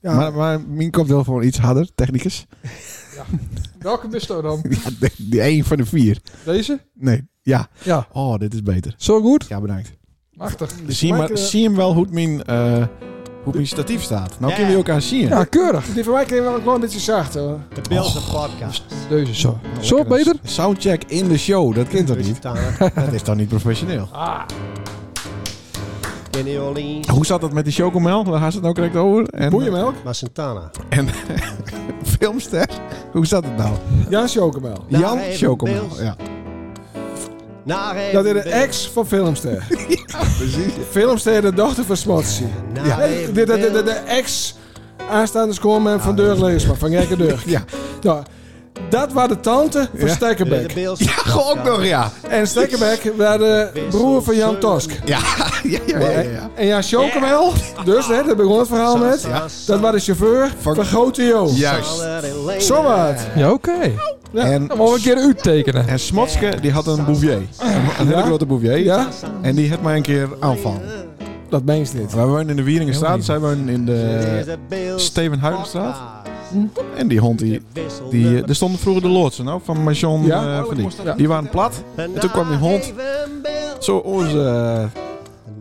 Ja. Maar, maar Minko wil gewoon iets harder, technicus. Welke misto dan? Ja, de, de één van de vier. Deze? Nee, ja. Ja. Oh, dit is beter. Zo goed? Dus eh, Ja, bedankt. Dus Machtig. Zie, maar, maken- zie hem wel hoe het mijn, eh, hoe mijn statief staat. Nou Ja. kun je elkaar zien. Ja, keurig. Die van mij kreeg wel gewoon een beetje zacht hoor. De Bills Oh. een podcast. Deze zo. Nou, Zo lekker beter? een Soundcheck in de show, dat kent toch Dus niet? Tana, Dat is toch niet professioneel? Ah, Kenny Orleans. Hoe zat dat met die chocomel? Waar gaat het nou correct over? En, Boeienmelk? Maar Santana. eh, Filmster? Hoe zat het nou? eh, Jan Chocomel. Nou, Jan even Bills. Chocomel. Ja, Naar even Dat is de Bills. ex van Filmster. precies. Filmster, de dochter van Smotsie. Naar Ja. Nee, even de, de, de, de, Bills. de ex aanstaande schoolman van Deug Leesma, van Gekke Deug. Ja. Nou, dat was de tante van Ja. Stekkerbeck. De Bills. Ja, gewoon ook nog, ja. En Stekkerbeck was de broer van Jan Tosk. Ja, ja, ja, ja. ja. En Jan Chocomel, dus hè, daar begon het verhaal met. Dat was de chauffeur van, Grote Jo. Juist. Zo wat. ja, oké. Ja. En, Dan mogen we een keer u tekenen. en Smotske, die had een bouvier. Een, een hele Ja? grote bouvier. Ja? En die had mij een keer aanval. Dat meen je niet. Wij wonen in de Wieringenstraat, zij wonen in de... de Eh, Steven Huydenstraat. En die hond, die... die eh, er stonden vroeger de loodsen, nou, van Machon. Ja? Oh, eh, van die. die waren plat. En toen kwam die hond zo onze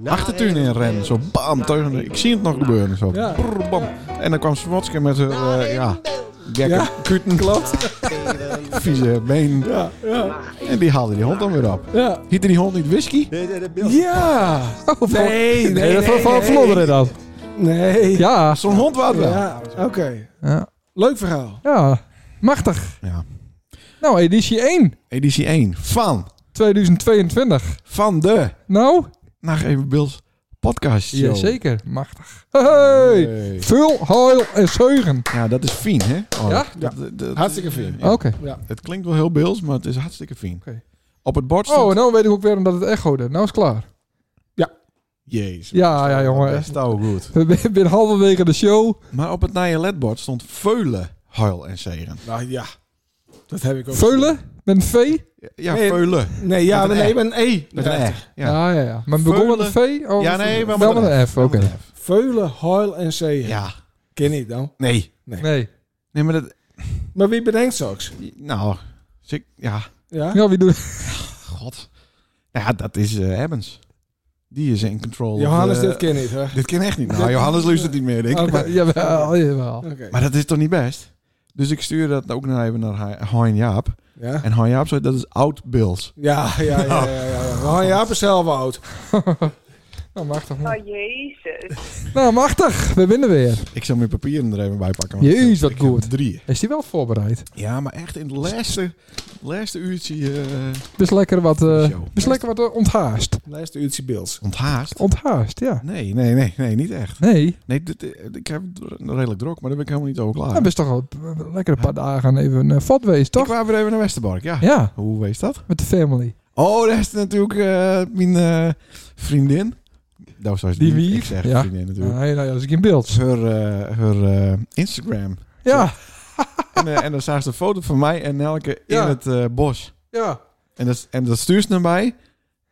eh, achtertuin in rennen. Zo bam, tegen de- Ik zie het nog gebeuren. Zo. Ja. Brrr, bam. En dan kwam Smotske met haar, eh, ja, gekke Ja. kuten. Klopt. Vieze been. Ja, ja, En die haalde die hond dan weer op. ja. Hiette die hond niet whisky? Ja! Oh, Nee, nee, van- dat nee, was van nee. Vlodderen dan. Nee. Ja. Zo'n hond was wel. Ja, oké. ja. Leuk verhaal. Ja. Machtig. Ja. Nou, editie 1. Editie 1 van, 2022. van de Nou? Nacht Even Bills podcast show. Jazeker. Machtig. Hey. Hey. Veel huil en zeugen. Ja, dat is fijn, hè? Oh, Ja? dat- dat- dat- Hartstikke fijn. Ja. Oké. Het klinkt wel heel Bills, maar het is hartstikke fijn. Oké. Op het bord stond... Oh, en nou weet ik ook weer omdat het echode. Nou is het klaar. Jezus. Ja, ja, jongen. Dat is nou goed. We zijn binnen halverwege de show. Maar op het naaienledbord stond veulen, huil en zegen. Nou ja, dat heb ik ook. Veulen? Met een V? Ja, Nee, veulen. Nee, ja, Met een nee, E. met een E. Met een E. Ja. Ah, Ja, ja, ja. Maar we begonnen met een V? Oh, Ja, nee, maar wel met een F. Oké. Veulen, huil en zee. Ja. Ken ik dan. Nee. Nee. Nee, maar dat... Maar wie bedenkt zoiets? Nou... zik- Ja, Ja? Ja, Nou, wie doet god. Ja, dat is eh Evans. Die is in control. of, Johannes, eh, dit ken ik, hè? Dit kan echt niet. Nou, Johannes luistert niet meer, denk ik. Oké, Oh, Jawel, jawel. Oké. Maar dat is toch niet best? Dus ik stuur dat ook nog even naar Ha- Hein Jaap. Ja? En Hein Jaap zei, dat is oud Bills. Ja, ja, ja, ja, ja. ja. Maar Jaap is zelf oud. Nou, machtig. man. Oh, jezus. Nou, machtig. We winnen weer. Ik zal mijn papieren er even bij pakken. want Jezus, ik- wat ik heb goed. Drie. Is die wel voorbereid? Ja, maar echt in het laatste, laatste uurtje eh, Dus lekker wat, eh Zo. dus lekker wat eh, onthaast. Lijst uurtje Bills. onthaast. Onthaast, ja. Nee, nee, nee, nee, niet echt. Nee, Nee, dit, eh, ik heb het redelijk druk, maar daar ben ik helemaal niet over klaar. dat is toch wel eh, lekker een paar dagen even een fat wezen, ik toch? kwam weer even naar Westerbork, ja. Ja, Hoe wees dat? met de family. Oh, daar is natuurlijk eh, mijn eh, vriendin. Nou, zoals Die die, wie? ik zeg, Ja. vriendin natuurlijk. Nee, nou ja, dat is in beeld. Haar, eh, haar eh, Instagram. Ja, en, eh, en dan zagen ze een foto van mij en Nelke Ja. in het eh, bos. ja. En dat, en dat stuurt ze naar mij.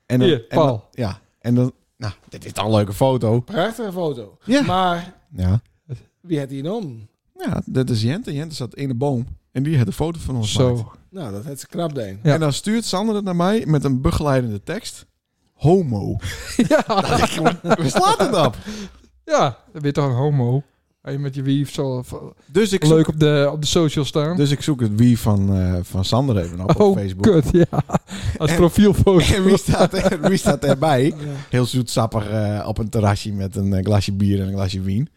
En dan, Hier, en dan- Paul. ja, en dan... Nou, dit is toch een leuke foto. Prachtige foto. Ja. Maar Ja. wie had die nom? Ja, dat is Jente. Jente zat in de boom. En die had een foto van ons gemaakt. Zo. Nou, dat had ze knap deen. Ja. En dan stuurt Sander het naar mij met een begeleidende tekst. Homo. Ja, Waar slaat het op? ja. Dan ben je toch een homo. Als je met je wief zo eh, Dus ik, leuk zoek, op de, op de social staan. dus ik zoek het wie van, eh, van Sander even op, op oh, Facebook. kut, ja. Als profielfoto. En wie staat, er, wie staat erbij? Heel zoetsappig eh, op een terrasje met een eh, glasje bier en een glasje wien.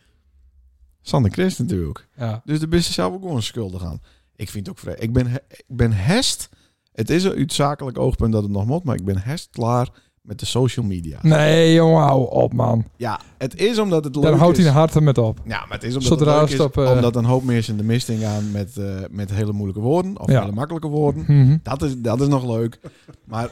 Sander Christ natuurlijk. Ja. Dus de business zou ook gewoon schuldig aan. Ik vind het ook vrij. Ik ben, he- ik ben hest. Het is uit zakelijk oogpunt dat het nog moet, maar ik ben hest klaar met de social media. Nee, jongen, hou op, man. Ja, het is omdat het leuk Daar houdt is. hij de harten met op. Ja, maar het is omdat Zodra het leuk het op, is, eh, omdat een hoop mensen de mist in gaan met, eh, met hele moeilijke woorden of Ja. hele makkelijke woorden. Mhm. Dat is, dat is nog leuk. Maar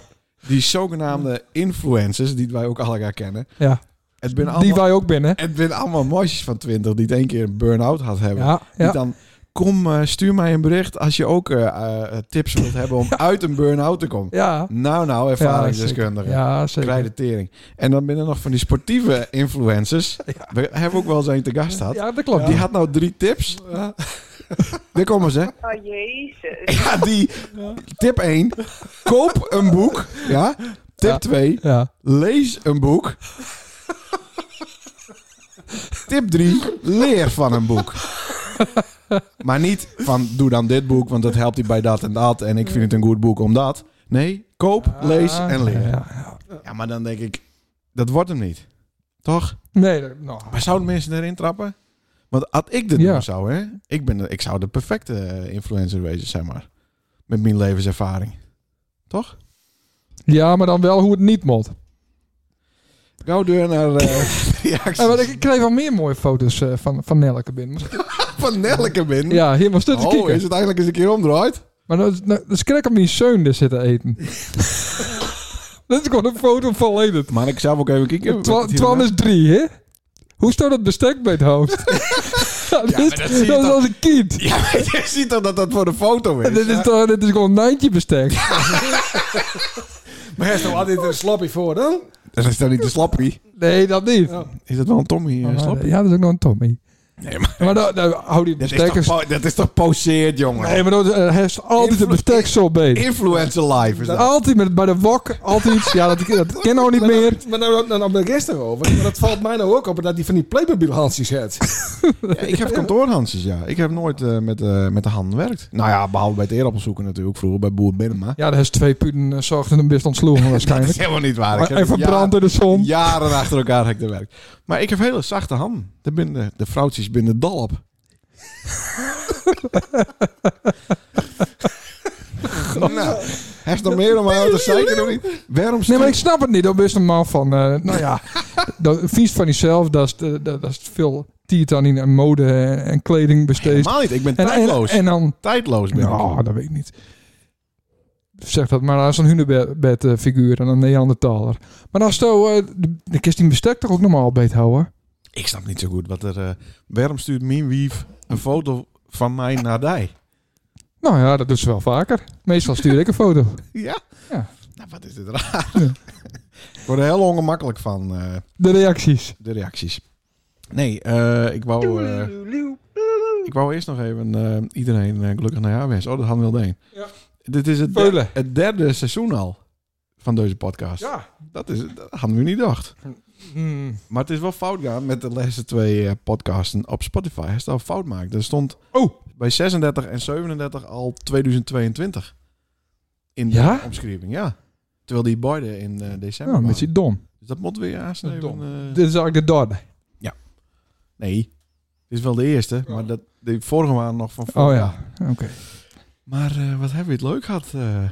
die zogenaamde influencers, die wij ook allemaal kennen, Ja, het zijn die allemaal, wij ook binnen. het zijn allemaal mosjes van 20 die het één keer een burn-out had hebben. Ja, Die ja. dan kom, eh, stuur mij een bericht als je ook eh, eh, tips wilt hebben om uit een burn-out te komen. Ja. Nou, nou, ervaringsdeskundige. zeker. Ja, zeker. Krijg de tering. En dan binnen nog van die sportieve influencers. We hebben ook wel eens een te gast gehad. Ja, dat klopt. Die had nou drie tips. Daar komen ze. Oh jezus. Ja, die tip 1. Koop een boek. Ja. Ja. Tip 2. Ja. Lees een boek. Tip 3. Leer van een boek. Maar niet van doe dan dit boek, want dat helpt je bij dat en dat. En ik vind het een goed boek omdat. Nee, koop, lees en leer. Ja, ja. Ah, Ja, maar dan denk ik, dat wordt hem niet. Toch? Nee, dat- nou. Maar zouden mensen erin trappen? Want had ik dit Ja. doen zou, hè? Ik, ben, de- ik zou de perfecte eh, influencer wezen, zeg maar. Met mijn levenservaring. Toch? ja, maar dan wel hoe het niet moet. Eh, Gauw deur naar eh reacties Ja, want ik ik kreeg wel meer mooie foto's eh, van, van Nelke binnen. van Nelke binnen. Ja, hier moest het oh, kijken. is het eigenlijk eens een keer omdraaid? Maar dat is, nou, dat is krek om die zeun er zitten eten. dat is gewoon een foto van Leden. Maar ik zou ook even kijken. Twa- wat het hier Twan nou- is drie, hè? Hoe staat het bestek bij het hoofd? ja, dit, maar dat zie je dat is toch- als een kind. Ja, je ziet toch dat dat voor de foto is? dit, is toch, dit is gewoon een nijntje bestek. Maar hij is toch altijd een slappie voor dan? Dat is dan niet de slappie? Nee, dat niet. Ja. Is dat wel een Tommy eh, slappie? ja, dat is ook nog een Tommy. Nee, maar Maar dan, dan hou die dat is, toch, bestek eens- po- dat is toch poseerd, jongen? Nee, maar dan, eh, hij is altijd een Influ- bestek zo beet. Influencer life is dat. Altijd met, bij de wok, altijd iets. Ja, dat, dat ken ook niet Maar meer. nou- Maar nou, nou, nou, ben ik gisteren over. Maar dat valt mij nou ook op dat hij van die playmobil handjes hebt. Ja, ik heb kantoorhandjes, ja. Ik heb nooit eh, met, eh, met de handen gewerkt. Nou ja, behalve bij het eerappel zoeken natuurlijk. Vroeger bij Boer Binnenma. Ja, daar is twee puten uh, zorgden een best ontsloegen dat is waarschijnlijk. helemaal niet waar. Ik Maar heb en verbrand in de jaren, zon. jaren achter elkaar heb ik er werk. Maar ik heb hele zachte handen. De, binnen, de vrouwtjes binnen dal op. nou, hij is nog meer om aan te zeiken of niet? Waarom Nee, maar stuur- ik snap het niet. Dat is een man van, eh, nou ja, dat, vies van jezelf. Dat is, de- dat, dat is veel tiet aan in mode en, en kleding besteed. Helemaal niet. Ik ben en, en, tijdloos. en dan, tijdloos ben ik. nou, dat weet ik niet. Zeg dat maar als een hunebed eh, figuur en een Neandertaler. Maar als zo, eh de, de kist die bestek toch ook normaal beet houden? Ik snap niet zo goed wat er... eh waarom stuurt Mien Wief een foto van mij naar die? Nou ja, dat doet ze wel vaker. Meestal stuur ik een foto. Ja? Ja. Nou, wat is dit raar. ik word er heel ongemakkelijk van, eh, De reacties. de reacties. Nee, eh, ik, wou, eh, ik wou eerst nog even eh, iedereen eh, gelukkig naar jaar wensen. Oh, dat hadden we al één. Ja. Dit is het, Veulen. der- het derde seizoen al van deze podcast. Ja. Dat, is, dat hadden we niet gedacht. Maar het is wel fout gaan met de laatste twee eh, podcasten op Spotify. Hij is al fout maakt. Er stond Oh. bij 36 en 37 al 2022 in de Ja? omschrijving. Ja. Terwijl die beide in eh, december Nou, met waren. z'n dom. Dus dat moet weer aansnijden. Dom. eh. Dit is eigenlijk de dode. nee, dit is wel de eerste, maar dat, de vorige waren nog van vorig Oh jaar. ja, oké. Maar eh, wat hebben we het leuk gehad eh,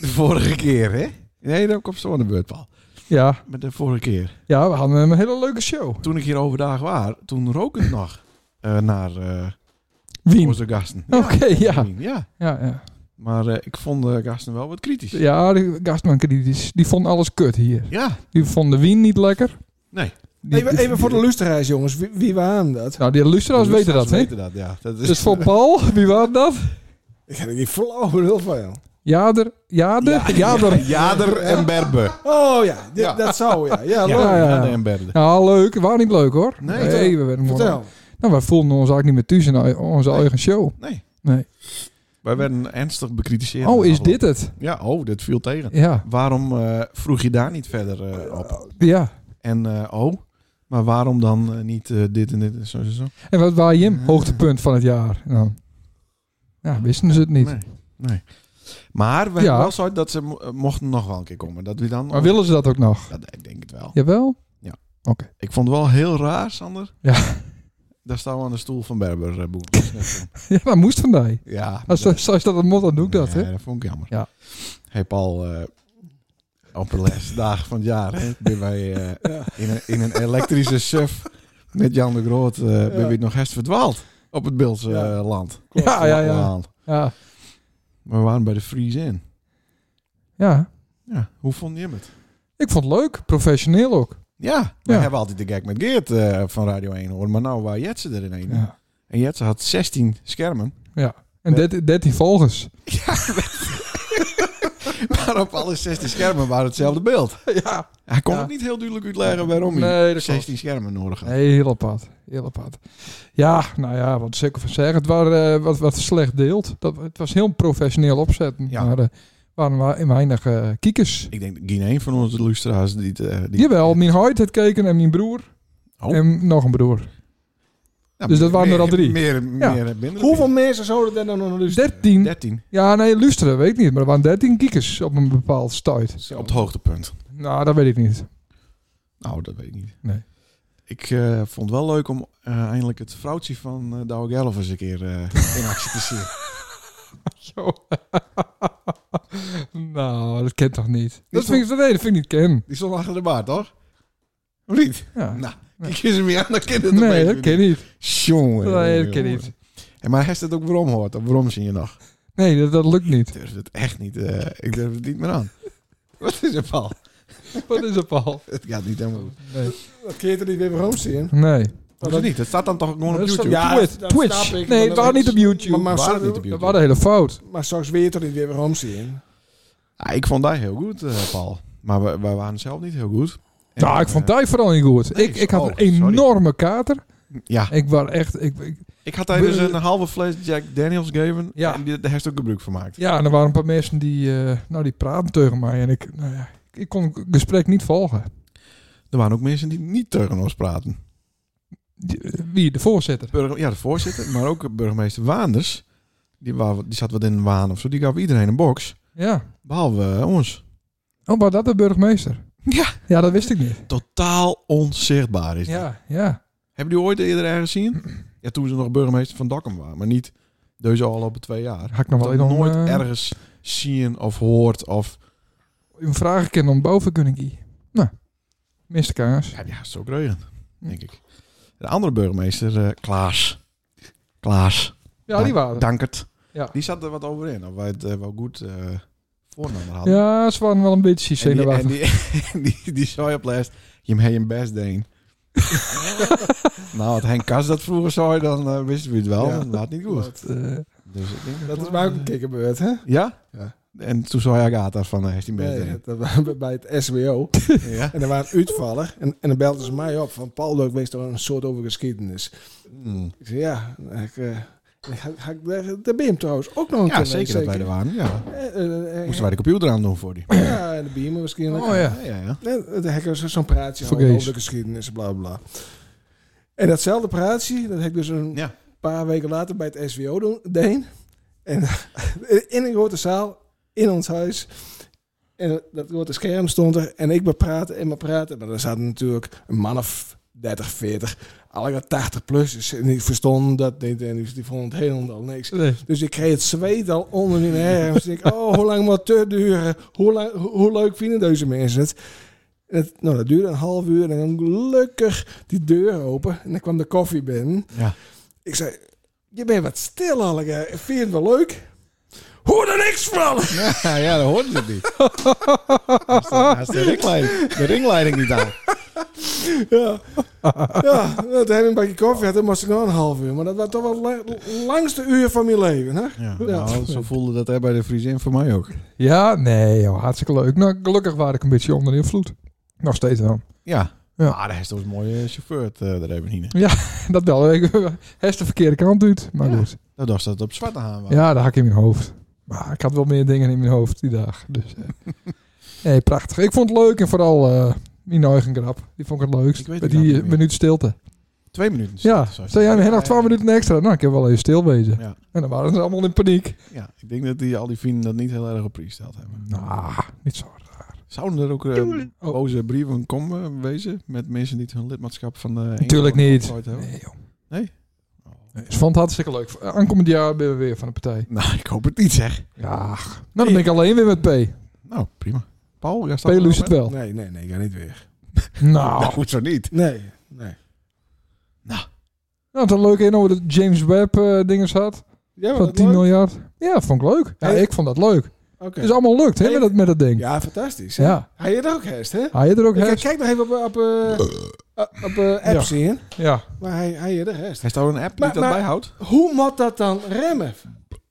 de vorige keer, hè? Nee, dan komt zo aan de beurt, Paul. Ja. Maar de vorige keer. ja, we hadden een hele leuke show. Toen ik hier overdag was, toen rook het nog eh, naar eh Wien. onze gasten. Oké, ja. ja. Ja, ja. Maar eh, ik vond de gasten wel wat kritisch. ja, de gastman kritisch. Die vond alles kut hier. Ja, Die vond de wien niet lekker. nee. Die, Even, even voor de luisteraars jongens. Wie, wie waren dat? Nou, die luisteraars weten dat, hè? weten dat, ja. Dat is Dus voor Paul, wie waren dat? Ik heb er niet flauw heel veel. Jader, Jader, Jader. Jader en Berbe. Oh ja, dit- Ja. dat zou ja. Ja, Ja, leuk. ja, ja. Jader en Berbe. Nou, leuk. Waar niet leuk, hoor. Nee, we werden Vertel. Nou, wij voelden ons eigenlijk niet meer thuis in ei- onze eigen show. Nee. Nee. Wij werden ernstig bekritiseerd. oh, is dit het? Ja, oh, dit viel tegen. Ja, Waarom eh, vroeg je daar niet verder eh, op? ja. En eh, oh, maar waarom dan eh, niet eh, dit en dit en zo en zo? En wat waren Jim? Hoogtepunt van het jaar. Nou, ja, wisten ze het niet. Nee, nee. Maar we Ja. hebben wel zo dat ze mo- eh, mochten nog wel een keer komen. Dat we dan... Maar willen ze dat ook nog? Dat, ik denk het wel. Jawel? Ik vond het wel heel raar, Sander. Ja. Daar staan we aan de stoel van Berber. eh, Boer. Ja, dat moest van mij. ja. maar Als, dat- als, als dat een mot, dan doe ik dat, Nee, hè? dat vond ik jammer. Ja. Hey Paul, eh, op de laatste dagen van het jaar hè, ben wij eh, in, een, in een elektrische suf met Jan de Groot eh ben we het nog best verdwaald op het Beeldse Ja. eh, land. Ja, ja, ja. Land. Ja. We waren bij de Freeze in. ja. Ja, hoe vond je hem het? Ik vond het leuk. Professioneel ook. Ja, we Ja. hebben altijd de gek met Geert eh, van Radio 1 hoor, maar nou waar Jetsen er in een. Ja. En Jetze had 16 schermen. En 13, 13 volgers. Maar op alle 16 schermen waren hetzelfde beeld. ja. Hij kon Ja. het niet heel duidelijk uitleggen waarom hij Nee, dat 16 schermen nodig had. Nee, heel apart. Heel apart. Ja, nou ja, wat zeker van zeggen. Het was wat, wat slecht deelt. Dat, het was heel professioneel opzet. Ja. Maar er waren maar weinig eh, kiekers. Ik denk dat geen een van onze lustra's die... het, eh, die Jawel, mijn huid had keken en mijn broer. Oh. En nog een broer. Nou, dus dat waren er meer- al drie. Meer, meer, Ja. minder. Hoeveel mensen zouden dat dan nog naar luisteren? 13. 13. Ja, nee, luisteren weet ik niet. Maar er waren 13 kiekers op een bepaald stuit. Op het hoogtepunt. Nou, dat weet ik niet. Nou, dat weet ik niet. Nee. Ik eh, vond het wel leuk om eh, eindelijk het vrouwtje van eh Douwe Gerlof eens een keer eh, in actie te zien. Zo. nou, dat kent toch niet? Dat toch- vind ik, nee, dat vind ik niet ken. Die stond achter de baard, toch? Of niet? Ja. Nou, ik kies hem weer aan, dan kinderen het nee, opeens dat weer ken niet. niet. Jongen, Nee, jongen, dat ken jongen. niet. En maar hij heeft het ook waarom hoort, dat waarom zie je nog. Nee, dat, dat lukt Ik niet. durf het echt niet, eh, ik durf het niet meer aan. Wat is er Paul? Wat is het, Paul? Het gaat niet helemaal goed. Nee. Dat keert er niet weer waarom zien. Nee. Hoezo niet? Dat staat dan toch gewoon op Dat is YouTube? toch- Ja, Twitch. dat Twitch. snap ik, nee, maar het dat was niet is- op YouTube. Maar, maar, Waar maar, het niet op Dat YouTube? was de hele fout. maar straks weet je toch niet weer waarom zien. Ah, ik vond die heel goed, eh, Paul. Maar we- wij waren zelf niet heel goed. En, nou, ik vond eh, Thij vooral niet goed. nee, ik, ik had oh, een sorry. enorme kater. Ja, Ik was echt... Ik, ik- ik had daar We- dus een halve fles Jack Daniels gegeven. Ja. En die- daar heeft ook gebruik van gemaakt. ja, en er waren een paar mensen die... eh, nou, die praten tegen mij. En ik, nou ja, ik- ik kon het gesprek niet volgen. Er waren ook mensen die niet tegen ons praten. Die- eh, Wie? De voorzitter. Burger- ja, de voorzitter, maar ook burgemeester Waanders. Die, wa- die zat wat in een waan of zo. Die gaf iedereen een box. Ja. Behalve eh, ons. Oh, was dat de burgemeester? Ja. Ja, dat wist ik niet. Totaal onzichtbaar is die. Ja, ja. Hebben die ooit eerder ergens gezien? Ja, toen ze nog burgemeester van Dokkum waren. Maar niet deze al op de twee jaar. Had ik nog wel Dat een, nooit eh, ergens zien of hoort of... Een vraag kennen om boven kunnen kie. Nou, Mr. Kaas. Ja, die had het zo kregen, denk ik. De andere burgemeester, eh, Klaas. Klaas. Ja, die waren. Dankert. Ja. Die zat er wat over in. Of wij het eh, wel goed eh voornaam hadden. Ja, ze waren wel een beetje En die, en zenuwachtig. die, en die, die zei op les, je hebt je best deen. nou, had Henk Kas dat vroeger zei, dan eh, wisten we het wel. Ja. maar Dat had niet goed. Eh, Dus ik denk dat- Dat is mij ook een kikkerbeurt, hè? Ja? Ja. En toen zei Agatha van, eh, heeft hij best Nee, deen. dat waren we bij het SWO. Ja. En er waren uitvallen. En, en dan belden ze mij op van Paul, leuk wees toch een soort over geschiedenis. Mm. Ik zei ja, ik, eh, ik ga- ga ik daar, daar ben je hem trouwens ook nog een ja, keer zeker dat wij er waren. Ja. Eh, eh, eh, Moesten wij de computer aan doen voor die. Ja, en de biemen misschien. Oh ja. ja, ja. En dan heb ik zo- zo'n praatje Vergees. houden over de geschiedenis, bla bla. En datzelfde praatje, dat heb ik dus een Ja. paar weken later bij het SWO doen, deen. En in een grote zaal, in ons huis. En dat grote scherm stond er. En ik bepraatte en bepraatte. Maar er zaten natuurlijk een man of 30, 40, alle 80 plus. En die verstonden dat niet. En die die vonden het helemaal niks. nee. Dus ik kreeg het zweet al onder mijn herfst. Dus ik denk, oh, hoe lang moet het duren? Hoe, lang, hoe, hoe leuk vinden deze mensen het? En het- Nou, dat duurde een half uur en dan gelukkig die deur open. En dan kwam de koffie binnen. Ja. Ik zei, je bent wat stil, Allega. Vind je het wel leuk? Hoor er niks van! Ja, ja, dat hoorden ze niet. Daar staat- daar staat de ringleiding, de ringleiding niet aan. Ja, ja dat heb ik een bakje koffie had, dan moest ik nog een half uur. Maar dat was toch wel la- langste uur van mijn leven, hè? Ja, Ja. nou, zo voelde dat hè, bij de Friesin voor mij ook. Ja, nee, joh, hartstikke leuk. Nou, gelukkig was ik een beetje onder de invloed. Nog steeds wel. Ja. Ja. Maar daar is toch een mooie chauffeur het, eh, daar hebben hier. Dat wel. Ik- Hij is de verkeerde kant uit, maar Ja. goed. Dat dacht dat het op zwarte haan was. Ja, dat had ik in mijn hoofd. Maar ik had wel meer dingen in mijn hoofd die dag. Dus, eh. nee, prachtig. Ik vond het leuk en vooral eh mijn eigen grap. Die vond ik het leukst. Ik weet Bij het nou die niet eh, meer. minuut stilte. Twee minuten. Ja, Zo- stel jij me nog twaalf Ja, minuten extra. Nou, ik heb wel even stil wezen. Ja. En dan waren ze allemaal in paniek. Ja, ik denk dat die, al die vrienden dat niet heel erg op prijs gesteld hebben. Nou, niet zo. Zouden er ook eh, Oh. boze brieven komen wezen met mensen die het hun lidmaatschap van eh, de... Natuurlijk Ene- niet. Ooit hebben? Nee, joh. Nee? Nee, ze vond het hartstikke leuk. Aankomend jaar ben we weer van de partij. Nou, ik hoop het niet zeg. Ja, nou dan ben ik alleen weer met P. Nou, prima. Paul, jij P staat er luistert nog het wel. Nee, nee, nee, ik ga niet weer. bij? Nou, Nou, goed zo niet. Nee, nee. nou dat leuk in over dat James Webb eh dingen zat. Ja, maar Van dat 10 leuk. miljard. Ja, dat vond ik leuk. Ja, Hey. ik vond dat leuk. Oké. Het is allemaal lukt, hè, met dat, met dat ding. Ja. Ja, fantastisch. hè? Hij heeft ook hest, hè? Hij had er ook Ik hest. kijk nog even op, op, eh, op, op eh, app Ja. zien, Ja. maar hij, hij heeft er hest. Hij staat een app Maar- die dat maar- bijhoudt. Hoe moet dat dan remmen?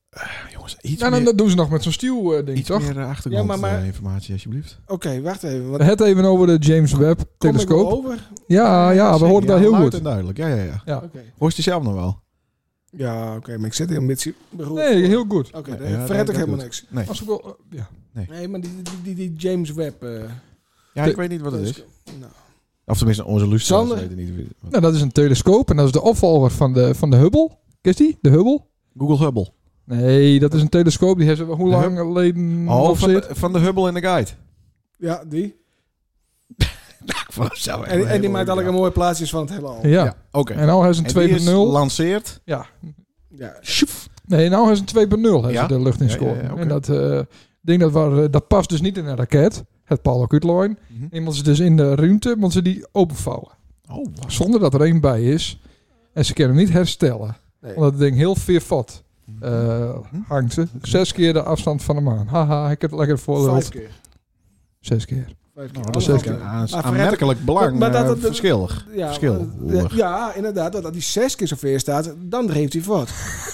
Eh, jongens, iets En Nou, dan, meer, dat doen ze nog met zo'n stiel eh, ding, iets toch? meer eh, Ja, maar- maar- achtergrondinformatie, alsjeblieft. Oké, wacht even. Want Het even over de James Webb kom ik wel telescoop. over? Ah, Ja, ja, we Zeker, horen ja, daar heel luid goed. en duidelijk, ja, ja, ja. Oké. Hoort je zelf nog wel? Ja, oké, maar ik zit hier een beetje beroerd. Nee, heel goed. Oké, Nee, dan ja, verret dat- ik dat helemaal doet. niks. Nee. Als ik wel, eh, ja. Nee, maar die, die, die, die James Webb... eh, Ja, ik weet niet wat het is. nou, Of tenminste, onze lustra's Sander? weten niet. wie- wat- Nou, dat is een telescoop en dat is de opvolger van de, van de Hubble. Kist die? De Hubble? Google Hubble. Nee, dat is een telescoop. Die hebben ze hoe De lang geleden Oh, Mm, of van zit. de, van de Hubble en de Guide. ja, die. Zo, echt En, een en die hele maakt leuke eigenlijk mooie plaatjes van het heelal. Ja. Ja, Oké. En nou is En die is een 2.0. lanceert. Ja. Ja. Nee, nou is een 2.0 hebben Ja? ze de lucht in Ja, ja, ja, scoren. oké. En dat eh, ding dat, waar, eh, dat past dus niet in een raket. Het Paul Kutloin. Mhm. Die moeten ze dus in de ruimte moeten ze die openvouwen. Oh, wat. Zonder dat er één bij is. En ze kunnen hem niet herstellen. Nee. Omdat het ding heel veervat Nou, eh Mhm. hangt. Ze. Zes keer de afstand van de maan. Haha, ik heb het lekker Vijf voorbeeld. keer. Zes keer. Vijf keer. Nou, dat is zeker een Anderhalf aans- Maar Fred- aanmerkelijk belang. eh, Maar Maar, dat het- verschil. keer. Ja, verschil. maar- ja, ja, inderdaad. Dat dat die zes keer zover staat, dan dreeft hij voort.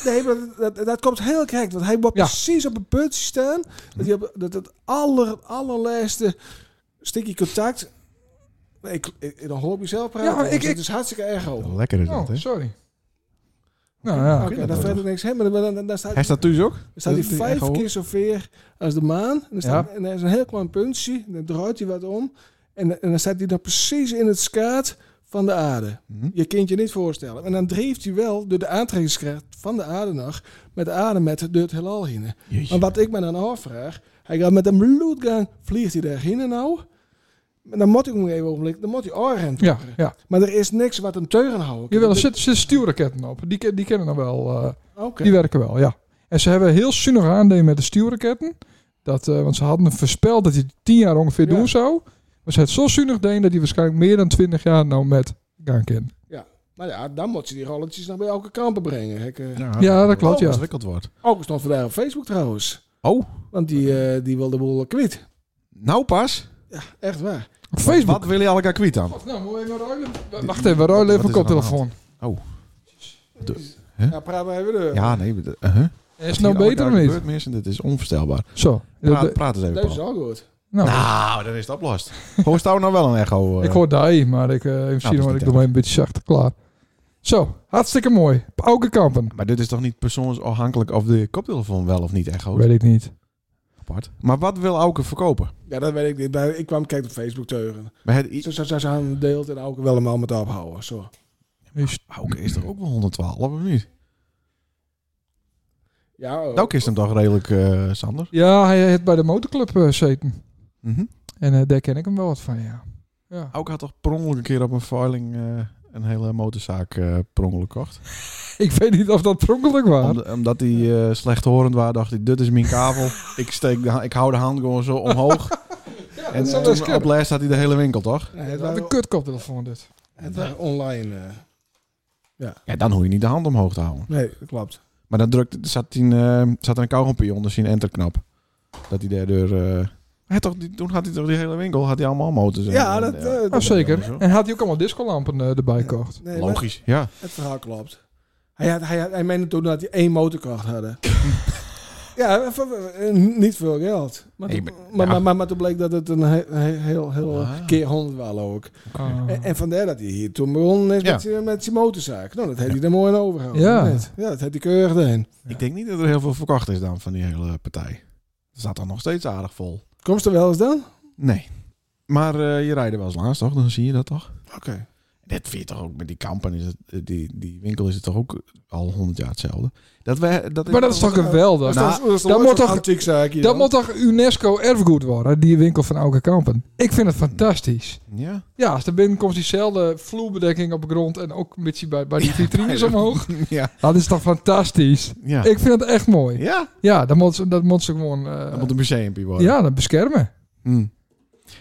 nee, maar dat, dat, dat komt heel correct. Want hij wordt Ja. precies op een puntje staan. Dat hij op dat, het aller, allerlaatste stukje contact... Nee, Ik, ik, dan hoor ik mezelf praten. Ja, maar ik- dus ik- het is hartstikke echo. Lekker is dat, Oh, hè? sorry. Nou ja. Oké, dat dan wel. verder niks. Hè, maar dan, dan, dan staat Hij staat thuis ook? Dan staat hij Dat die vijf echo- keer zover als de maan. En, dan staat, en er is een heel klein puntje. En dan draait hij wat om. En, en dan staat hij dan precies in het skaat van de aarde. Mhm. Je kunt je niet voorstellen. En dan dreeft hij wel door de aantrekkingskracht van de aarde nog... met de aarde met door het heelal heen. Jeetje. Maar wat ik me dan afvraag... hij gaat met een bloedgang... vliegt hij daarheen nou? Maar dan moet ik hem even ogenblik... dan moet hij oorrent Ja, ja. Maar er is niks wat hem teuren houden. kan. Jawel, er Dat- zitten zit stuurraketten op. Die, ken- die kennen dan wel. eh, Oké. Die werken wel, ja. En ze hebben heel zuinig aandeel met de stuurraketten. Dat, eh, want ze hadden hem voorspeld dat hij tien jaar ongeveer Ja. doen zou. Maar ze het zo zuinig deden dat hij waarschijnlijk meer dan twintig jaar nou met gaan kennen. Maar ja, dan moet ze die rolletjes nog bij elke kampen brengen. Ik, eh, Ja, Nou, dat klopt, ja. ontwikkeld wordt. Ook stond vandaag op Facebook trouwens. Oh, Want die, eh, die wil de boel kwijt. nou pas. Echt waar. Op Facebook. Wat wil je elkaar kwijt dan? Nou, moet even ruilen. Wacht even, we ruilen even een Wat is er nou koptelefoon. Ja, praat maar even door. Ja, nee. de- eh, hè? En Is het nou Hier beter of elkaar niet? gebeurt, mensen, dit is onvoorstelbaar. Zo. Praat, praat eens even, Dat is Paul. al goed. Nou, Nou, dan is het oplost. Hoort jou nou wel een echo? eh? Nou, ik hoor die, maar ik, eh even zien, is hoor, niet ik doe erg. mij een beetje zachter. Klaar. Zo, hartstikke mooi. Op Auke Kampen. Maar dit is toch niet persoonsafhankelijk of de koptelefoon wel of niet echo? Weet ik niet. Apart. Maar wat wil Auken verkopen? Ja, dat weet ik niet. Maar Ik kwam kijken op Facebook teugen. Maar het, i- Zo zo- zo ze aan deelt en ook wel helemaal met ophouden. Zo. Is- Auken is toch ook wel 112, of niet? Ja, oh. Auken is hem toch redelijk, eh, Sander? Ja, hij heeft bij de motorclub eh, gezeten. Mhm. En eh, daar ken ik hem wel wat van, ja. Ja, Auken had toch per ongeluk een keer op een filing eh, een hele motorzaak eh per ongeluk kocht? Ik weet niet of dat per ongeluk was. Om- omdat hij eh, slechthorend was, dacht hij, dit is mijn kavel. ik, steek de, ha- ik hou de hand gewoon zo omhoog. en zou best toen kunnen. op les had hij de hele winkel, toch? Nee, het Wat waren, een kutkoptelefoon dit. het waren online. eh. Ja, dan hoef je niet de hand omhoog te houden. Nee, dat klopt. Maar dan drukte, zat, hij, een, eh, zat er een kauwgompje onder zijn enterknop. Dat hij daardoor... eh hij toch, die- toen had hij toch die hele winkel, had hij allemaal motors. en- Ja, en- dat... eh, Ah, dat- zeker. En had hij ook allemaal discolampen eh, erbij gekocht. nee, maar Logisch, ja. Het verhaal klopt. Hij, had, hij, had, hij meende toen dat hij één motorkracht hadden. ja, voor- voor- eh, niet veel geld. Maar, Nee, toen, maar- maar, ja. maar, maar, maar toen bleek dat het een he- he- heel, heel Ah. keer honderd was ook. Ah. En, en vandaar dat hij hier toen begon is Ja. met, zijn- met zijn motorzaak. Nou, dat heeft hij er mooi in overgehouden. Ja. Net. ja dat heeft hij keurig erin. Ik denk niet dat er heel veel verkocht is dan van die hele partij. Er staat dan nog steeds aardig vol. Komst er wel eens Nou, dan? Nee. Maar eh, je rijdt er wel eens langs, toch? Dan zie je dat toch? Oké. Dat vind je toch ook met die kampen. Is het, eh, die, die winkel is het toch ook al honderd jaar hetzelfde. Dat wij, dat maar dat is toch geweldig? Nou, dat moet toch- antiek zaakje dat dan. moet toch UNESCO erfgoed worden, die winkel van Auke Kampen? Ik vind het fantastisch. Ja. Ja, als er binnenkomt diezelfde vloerbedekking op de grond en ook een beetje bij, bij die vitrines omhoog. ja. Dat is toch fantastisch? Ja. Ik vind het echt mooi. ja. Ja, dat moet, ze- dat moet ze gewoon... eh, Dat moet een museumpje worden. ja, dat beschermen. Hm.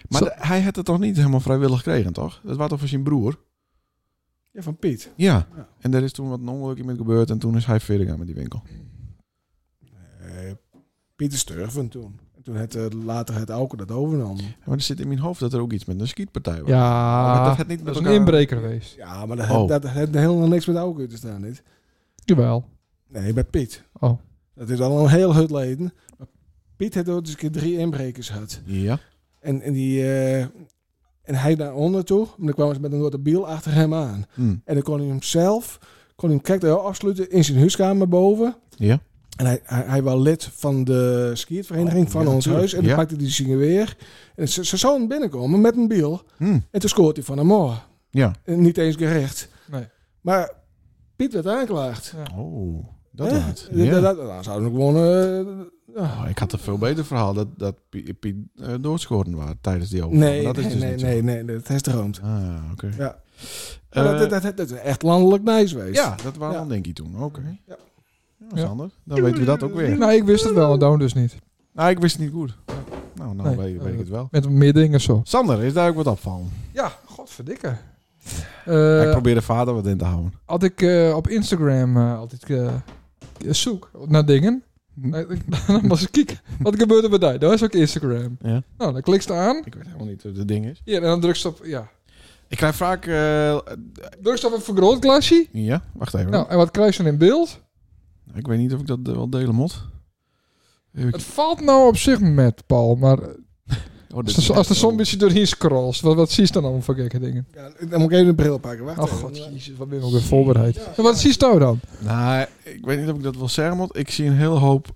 Maar Zo- de- hij had het toch niet helemaal vrijwillig gekregen, toch? Dat was toch voor zijn broer? Ja, van Piet. Ja. Ja. En er is toen wat een ongelukje mee gebeurd en toen is hij verder gegaan met die winkel. Eh, Pieter Sturven toen. En toen het, eh, later het Auken dat overnam. Maar er zit in mijn hoofd dat er ook iets met een skietpartij was. Oh, Maar Ja, dat het niet met dat is een elkaar- inbreker geweest. Ja, maar dat, Oh. dat, heeft helemaal niks met Auken te staan. Dit. Jawel. Nee, bij Piet. Oh. Dat is al een heel hut leden. Maar Piet had ook eens een keer drie inbrekers gehad. Ja. En, en, die, eh, en hij naar onder toe. En dan kwamen ze met een grote biel achter hem aan. Hm. En dan kon hij hem zelf, kon hij hem kijk daar afsluiten in zijn huiskamer boven. Ja. En hij, hij, hij was lid van de skiervereniging Oh, van ja, ons tuurlijk. huis. En dan Ja. pakte hij zingen weer. En ze, ze zouden binnenkomen met een biel. Hm. En toen scoort hij van hem af. Ja. En Niet eens gerecht. Nee. Maar Piet werd aangeklaagd. Oh, dat Hè? laat. Dat- Ja. dat- dat- Dan zouden we gewoon... eh, ja. Oh, ik had een veel beter verhaal dat, dat Piet, Piet eh, doodgeschoten was tijdens die overval. Nee, dat is nee, dus nee, niet zo. nee, nee, dat is droomd. Ah, oké. Ja. Eh, Maar dat, dat, dat, dat is echt landelijk nice geweest. ja, dat waren Ja. dan denk ik toen. Oké. Ja. Ja. Dat is Ja. handig. Dan weten we dat ook weer. Nou, ik wist het wel en Doon dus niet. Nou, ik wist het niet goed. Nou, nou Nee. weet, weet ik het wel. Met meer dingen zo. Sander, is daar ook wat opvallen? Ja, godverdikke. ik Eh probeer de vader wat in te houden. had ik eh, op Instagram eh, altijd eh, zoek naar dingen. Nee, ik- Dan was ik kijken. Wat gebeurt er bij die? Dat is ook Instagram. Ja. Nou, dan klikst ze aan. Ik weet helemaal niet wat het ding is. Ja, en dan druk ze op... Ja. Ik krijg vaak... eh, eh, Druk ze op een vergrootglasje. ja, wacht even. Nou, en wat krijg je dan in beeld? Ik weet niet of ik dat eh, wel delen moet. Even- Het valt nou op zich met, Paul. Maar eh, Oh, dit als de, als de oh. zon een beetje doorheen scrollt, wat, wat zie je dan allemaal voor gekke dingen? Ja, dan moet ik even een bril pakken. Wacht Oh even. god, jezus, wat ben ik ook weer voorbereid. En wat zie je nou dan? Nou, ik weet niet of ik dat wil zeggen, want ik zie een hele hoop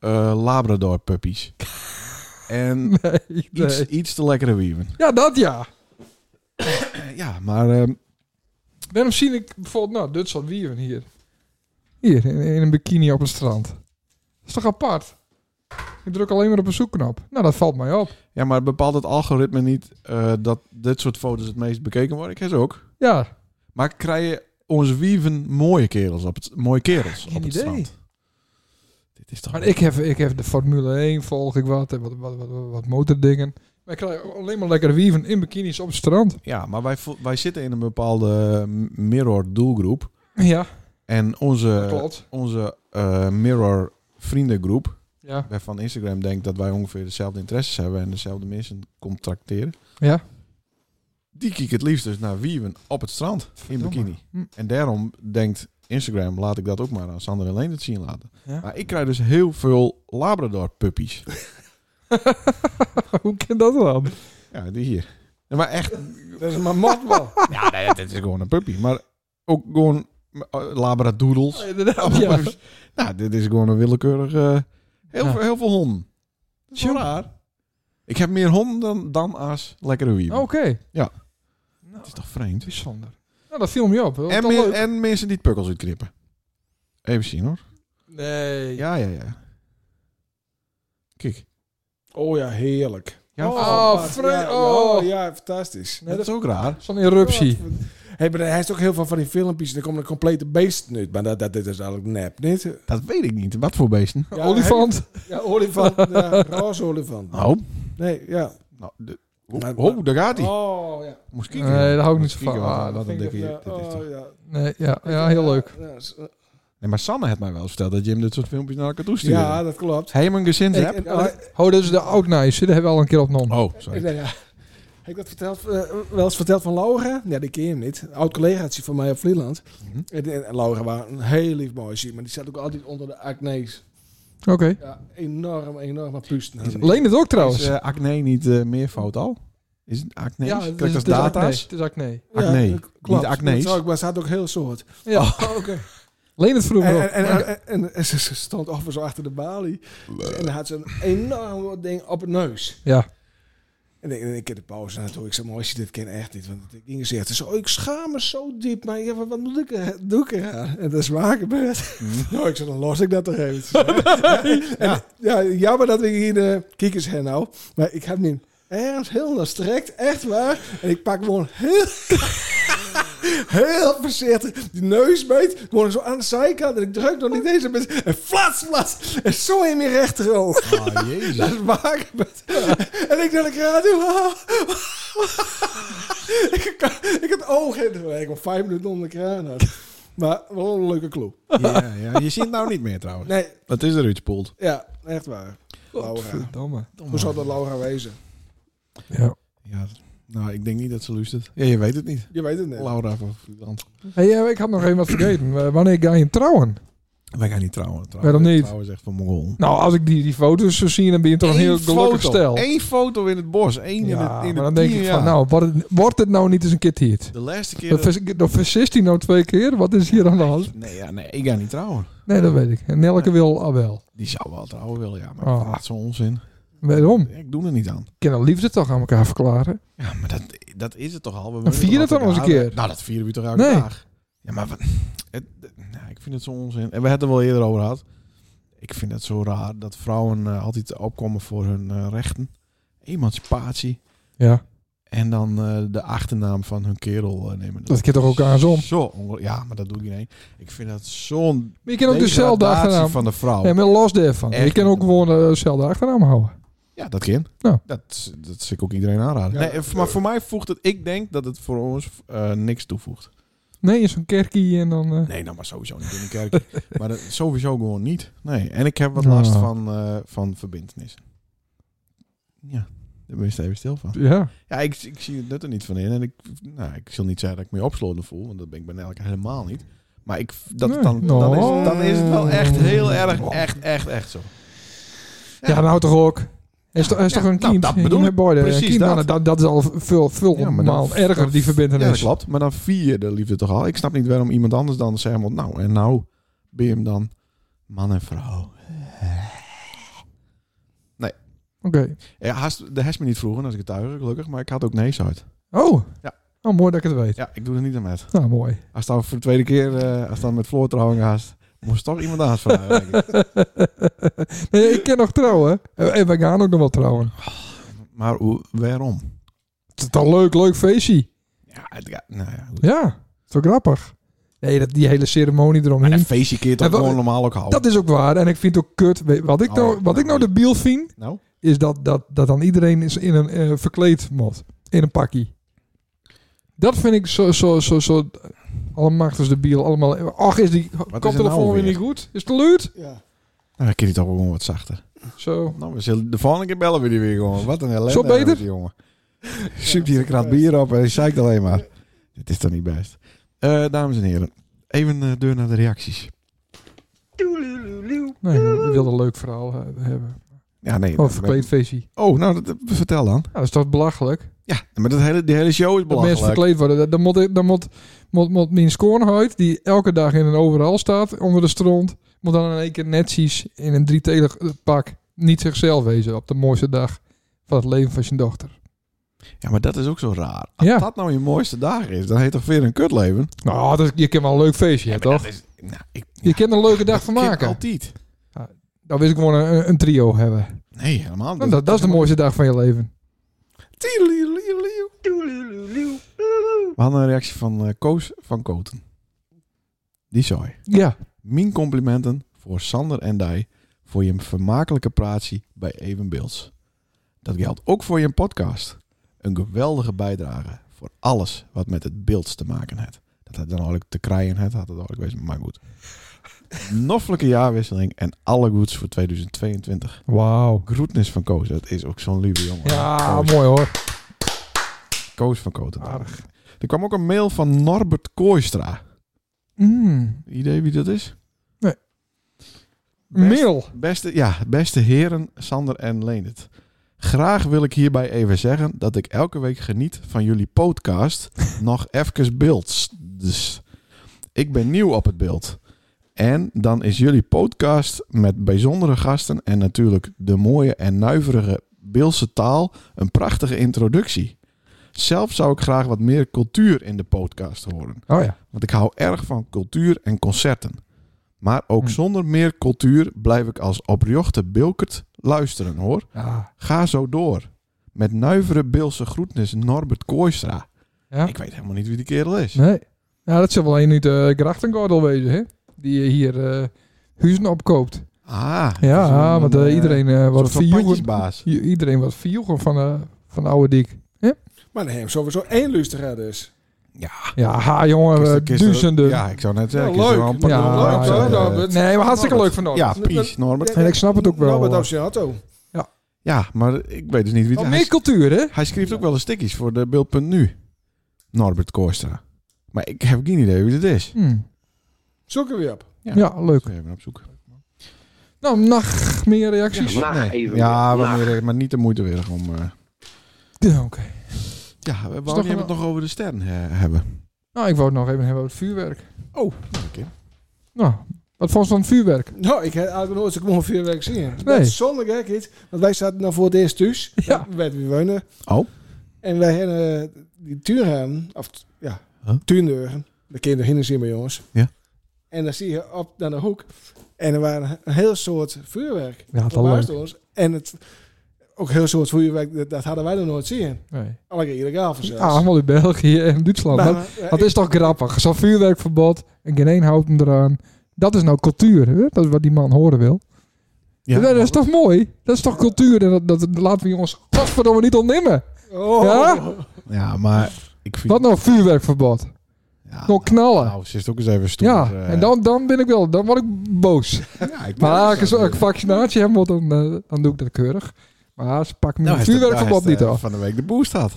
eh, Labrador-puppies. en Nee, iets, nee. iets te lekkere wieven. Ja, dat ja. Eh, ja, maar ehm, Daarom zie ik bijvoorbeeld, nou, Duitsland Wieven hier. Hier, in, in een bikini op het strand. Dat is toch apart? Ik druk alleen maar op een zoekknop. Nou, dat valt mij op. ja, maar bepaalt het algoritme niet eh, dat dit soort foto's het meest bekeken worden? Ik heb ze ook. Ja, Maar krijg je onze wieven mooie kerels op het, mooie kerels Ah, Geen op het idee. strand? Dit is toch... maar ik heb, ik heb de Formule 1, volg ik wat, en wat, wat, wat, wat, wat motordingen. Maar ik krijg alleen maar lekkere wieven in bikinis op het strand. Ja, maar wij, vo- wij zitten in een bepaalde eh, m- mirror-doelgroep. Ja, En onze, klopt. onze eh, mirror-vriendengroep Ja. wij van Instagram denkt dat wij ongeveer dezelfde interesses hebben en dezelfde mensen contracteren. Ja. Die kijken het liefst dus naar wieven op het strand in Verdomme. bikini. Hm. En daarom denkt Instagram, laat ik dat ook maar aan Sander en Leen het zien laten. Ja. Maar ik krijg dus heel veel Labrador puppies. Hoe kan dat dan? ja, die hier. Ja, maar echt, Dat is maar motbal. ja, Ah, nee, dit is gewoon een puppy. Maar ook gewoon eh, Labradoodles. inderdaad, ja. Nou, dit is gewoon een willekeurig... eh, heel, Ja. veel, heel veel honden. Dat is wel Tjonge. raar. Ik heb meer honden dan, dan als lekkere wieven. Ah, Oké. Ja. Nou, Het is toch vreemd? bijzonder. Nou, dat viel me op. Dat was En, toch men- leuk. en mensen die het pukkels uitknippen. Even zien hoor. Nee. Ja, ja, ja. Kijk. Oh ja, heerlijk. Ja, Oh, apart. Fre- Ja, oh. oh, ja, fantastisch. Nee, dat is ook raar. Zo'n eruptie. Hey, maar hij is ook heel veel van die filmpjes. Er komen een complete beesten uit. Maar dat, dat, dit is eigenlijk nep, niet? Dat weet ik niet. Wat voor beesten? Ja, Olifant. Ja, olifant. ja, roze olifant. Nou. Nee, ja. nou de, oh, Maar- oh, daar gaat hij. Oh, ja. Moest kijken. Nee, daar hou ik niet zo Moest van. kijken wat- wat Ah, dat een vind ik- dikke- Ja, dit is toch- oh, ja. Nee, ja, ja, heel leuk. Ja, is- eh, Nee, maar Sanne heeft mij wel eens verteld dat Jim dit soort filmpjes naar elkaar toe stuurde. Ja, dat klopt. Hij hem een gezin Ik- hebt. en- eh, Oh, dat is de oud nice. Dat hebben we al een keer opgenomen. Oh, Ik sorry. denk, ja. Heb ik dat verteld, eh, wel eens verteld van Laura? Ja, die ken je hem niet. Oud collegaatje van mij op Vlieland. Mhm. En, en- en Laura was een heel lief meisje, maar die zat ook altijd onder de acne's. Oké. Ja, enorm, enorm aan puisten. Is- Leen het ook trouwens. Is eh, acne niet meer meervoud al? Is het acne? ja, Kijk, het dat is, is dus het is acne. data's. Het is acne. Ja, acne. dat Niet klopt. acne's. Dat zou ik, maar ze had ook heel soort. Oh. Ja. oké. Leen het vroeger En, ook. en, en, en, en- en ze, ze stond over zo achter de balie. En dan had ze een enorm groot ding op het neus. Ja. En ik, en ik heb de pauze naartoe. Ik zei, mooi, je dit ken echt niet. Want Inge zegt, ze zei, oh, ik schaam me zo diep. Maar ja, wat, wat moet ik er, doe ik eraan? En dat is waar gebeurd. Mhm. Nou, ik zei, dan los ik dat toch even. ja. ja, jammer dat we hier de kiekers hebben nou. Maar ik heb nu ergens heel naar strekt. Echt waar. En ik pak gewoon heel heel voorzichtig die neusbeet. Gewoon zo aan de zijkant. En ik druk nog niet eens op het. En flats, flats. En zo in mijn rechteroog. Ah, jezus. Dat is waar gebeurd. En ik dacht, ik raad toe. ik, kan- ik had ogen in de Ik was vijf minuten onder de kraan. Had. Maar wel een leuke clue. Ja, ja. Je ziet het nou niet meer trouwens. Nee, Dat is er iets poelt. ja, echt waar. Oh, Laura. Oh, Godverdomme. Hoe zal dat Laura wezen? Ja. Ja, nou, ik denk niet dat ze luistert. Ja, je weet het niet. Je weet het niet. Laura van Vlieland. Hey, ja, ik had nog even wat vergeten. Eh, Wanneer ga je trouwen? Wij gaan niet trouwen. trouwen. Waarom niet? Trouwen is echt van Mongool. Nou, als ik die, die foto's zo zie, dan ben je toch een heel gelukkig stel. Eén foto in het bos. Eén in Ja, het in maar het dan denk tien ik jaar. van, nou, wordt het, wordt het nou niet eens een keer tiert? De laatste keer... Dan dat- vers- Dan versist hij nou twee keer. Wat is hier aan de hand? Nee, ja, nee, ik ga niet trouwen. Nee, dat weet ik. En Nelke wil al wel. Die zou wel trouwen willen, ja. Maar Oh. Hm. ik vind dat zo'n onzin. Waarom? Ik doe er niet aan. Ik kan de liefde toch aan elkaar verklaren. Ja, maar dat, dat is het toch al. We Dan willen vier toch het dan altijd nog eens een raden? keer. Nou, dat vieren we toch elke Nee. dag. Ja, maar wat, het, nou, ik vind het zo onzin. En we hebben het er wel eerder over gehad. Ik vind het zo raar dat vrouwen eh, altijd opkomen voor hun eh, rechten. Emancipatie. Ja, En dan eh, de achternaam van hun kerel eh, nemen. dat kan toch ook aan zon. Zo onge- Ja, maar dat doe ik niet. Ik vind dat zo'n Maar je kan ook dezelfde degradatie achternaam. van de vrouw. Nee, maar los daarvan. Oh. Echt Je kan niet. ook gewoon eh, dezelfde achternaam houden. Ja, dat kan. Nou. Dat, dat zou ik ook iedereen aanraden. Ja. Nee, maar voor mij voegt het... Ik denk dat het voor ons eh, niks toevoegt. Nee, zo'n kerkie en dan... eh, Nee, nou maar sowieso niet in de kerk. maar dat, sowieso gewoon niet. Nee, en ik heb wat Nou. last van, eh van verbindenissen. Ja, daar ben je even stil van. Ja. Ja, ik, ik zie het nut er niet van in. En ik, nou, ik zal niet zeggen dat ik me opsloten voel, want dat ben ik bij elkaar helemaal niet. Maar ik, dat, Nee. dan, dan, is, dan is het wel echt heel erg, Oh. echt, echt, echt zo. Ja, nou toch ook. Is, toch- is ja, toch een nou, kind? dat Je bedoel moet ik. beide- Precies kind- dat. nou, dat. Dat is al veel, veel Ja, maar dan- maal Ja, erger, die dat verbindenis. klopt. Maar dan vier je de liefde toch al. Ik snap niet waarom iemand anders dan zegt, want nou, en nou ben je hem dan man en vrouw. Oké. Ja, haast, de has me niet vroegen als ik het tuig, gelukkig, maar ik had ook nee uit. Oh. Ja. Oh, mooi dat ik het weet. Ja, ik doe er niet aan met. Nou, mooi. Als dan voor de tweede keer, eh, als dan met Floor trouwen gaat, moest toch iemand anders vragen. denk ik. nee, ik kan nog trouwen. Eh, En en wij gaan ook nog wel trouwen. maar hoe, waarom? Het is toch een leuk, leuk feestje. Ja, het, ja, nou ja. goed. Ja. Zo grappig. Nee, dat, die hele ceremonie Maar dat eromheen. feestje keer toch Ja, wel- gewoon normaal ook houden? Dat is ook waar. En ik vind het ook kut. Weet- Wat ik nou, Oh, wat ik nou nou, debiel vind, Nou, is dat, dat, dat dan iedereen is in een eh, verkleed mod. In een pakkie. Dat vind ik zo, zo, zo, zo allemachtig debiel. Allemaal, ach, is die er koptelefoon nou weer weer? niet goed? Is het luid? Ja. nou dan kun je toch wel gewoon wat zachter. Zo. Nou, we zullen, de volgende keer bellen we die weer gewoon. Wat een ellende. Zo beter? met die jongen. Zoekt hier een krat bier op en hij zeikt alleen maar. Dit is toch niet best. Eh, dames en heren, even eh deur naar de reacties. Nee, ik wilde een leuk verhaal eh, hebben. Ja, nee. Oh, verkleed feestje. Oh, nou, dat, vertel dan. Nou, dat is toch belachelijk? Ja, maar dat hele, die hele show is Dat mensen belachelijk. verkleed worden. Dat- Dan moet, ik- dan moet, moet, moet mijn schoonheid, die elke dag in een overal staat, onder de stront, moet dan in één keer netjes in een drietelig eh, pak niet zichzelf wezen op de mooiste dag van het leven van zijn dochter. Ja, maar dat is ook zo raar. Als Ja. dat nou je mooiste dag is, dan heet toch weer een kutleven? Nou, dat, is- je kan wel een leuk feestje hebben, toch? nou, ik, Je kan er een leuke dag van maken. altijd. Dan wil ik gewoon een, een trio hebben. Nee, helemaal Nou, dat, dat is de mooiste dag van je leven. We hadden een reactie van eh, Koos van Koten. Die zei... Ja, Mijn complimenten voor Sander en Dai voor je vermakelijke praatje bij Even Beelds. Dat geldt ook voor je podcast. Een geweldige bijdrage voor alles wat met het beeld te maken heeft. Dat had dan eigenlijk te krijgen, het had het eigenlijk wezen, maar goed. Noffelijke jaarwisseling en alle goeds voor 2022. wauw. Groetnis van Koos, dat is ook zo'n lieve jongen. Ja, Koos, mooi hoor. Koos van Koten. Oh. Aardig. Er kwam ook een mail van Norbert Kooistra. Mm. Idee wie dat is? Nee. Best- Mail. Beste, ja, beste heren Sander en Leendert. Graag wil ik hierbij even zeggen dat ik elke week geniet van jullie podcast nog even beelds. Dus ik ben nieuw op het beeld. En dan is jullie podcast met bijzondere gasten en natuurlijk de mooie en nuiverige Beelse taal een prachtige introductie. Zelf zou ik graag wat meer cultuur in de podcast horen. Oh ja. Want ik hou erg van cultuur en concerten. Maar ook Hm. zonder meer cultuur blijf ik als opriochte Bilkert luisteren hoor. Ah, Ga zo door. Met nuivere Beelse groetnis Norbert Kooistra. ja. Ik weet helemaal niet wie die kerel is. Nee. Nou, dat zal wel een uit de Grachtengordel wezen, hè? Die je hier eh, huizen opkoopt. Ah. Ja, want eh, iedereen eh, wordt wordt verjoegen. i- Iedereen wordt verjoegen van, eh van oude dik. Maar dan hebben we sowieso één luisteraar dus. Ja. Ja, ha, jongen, Kist- eh, kist- duizenden. Ja, ik zou net zeggen. Ja, kist er leuk. wel een paar- Ja, wel leuk, hoor, eh, Norbert. Nee, maar hartstikke leuk van ons. Ja, Norbert. peace, Norbert. En ik snap het ook wel, Robert hoor. Oceanato. Ja, maar ik weet dus niet wie Al het meer is. cultuur, hè? Hij schreef ook wel eens stickies voor de beeld.nu. Norbert Kooistra. Maar ik heb geen idee wie dit is. Hm. Zoeken we op. Ja. Ja. leuk. Zullen we Even op zoek. Nou, nog meer reacties. Ja, Nacht nee. even. ja wel Nacht. meer, maar niet de moeite weer om... eh, Ja, Oké. ja, we toch wouden een- het nog over de sterren eh, hebben. Nou, ik wou het nog even hebben over het vuurwerk. Oh, oké. Nou, wat vond je van het vuurwerk? Nou, ik had nog nooit zo'n mooi vuurwerk zien. Nee. Dat is zonder gekheid. Want wij zaten nou voor het eerst thuis. Ja. We werden weer wonen. Oh. En wij hebben eh, die tuinraam, of t- ja, Huh? tuindeuren. De kinderen hinder zien maar jongens. Ja. En dan zie je op naar de hoek. En er waren een heel soort vuurwerk. Ja, dat Op leuk. huis door ons. En het, ook heel soort vuurwerk, dat, dat hadden wij nog nooit zien. Nee. Alle keer illegaal voor zelfs. Ja, allemaal in België en Duitsland. Nou, Maar, dat, eh, dat is toch grappig? Zo'n vuurwerkverbod en geen één houdt hem eraan. Dat is nou cultuur, hè? Dat is wat die man horen wil. Ja, dat is toch mooi? Dat is toch cultuur? En dat, dat, dat laten we jongens godverdomme niet ontnemen. Oh. Ja? ja, maar ik vind... Wat nou vuurwerkverbod? Ja, Nog knallen. Ah, Nou, ze is ook eens even stoer. ja, eh. en dan, dan ben ik wel, dan word ik boos. Ja, ik Nou, Maar als ik zo- zo- ik vaccinatie heb, want dan, eh, dan doe ik dat keurig. Maar ze pakken Nou, mijn hij is de- vuurwerkverbod hij is niet de- af. Van de week de boost had.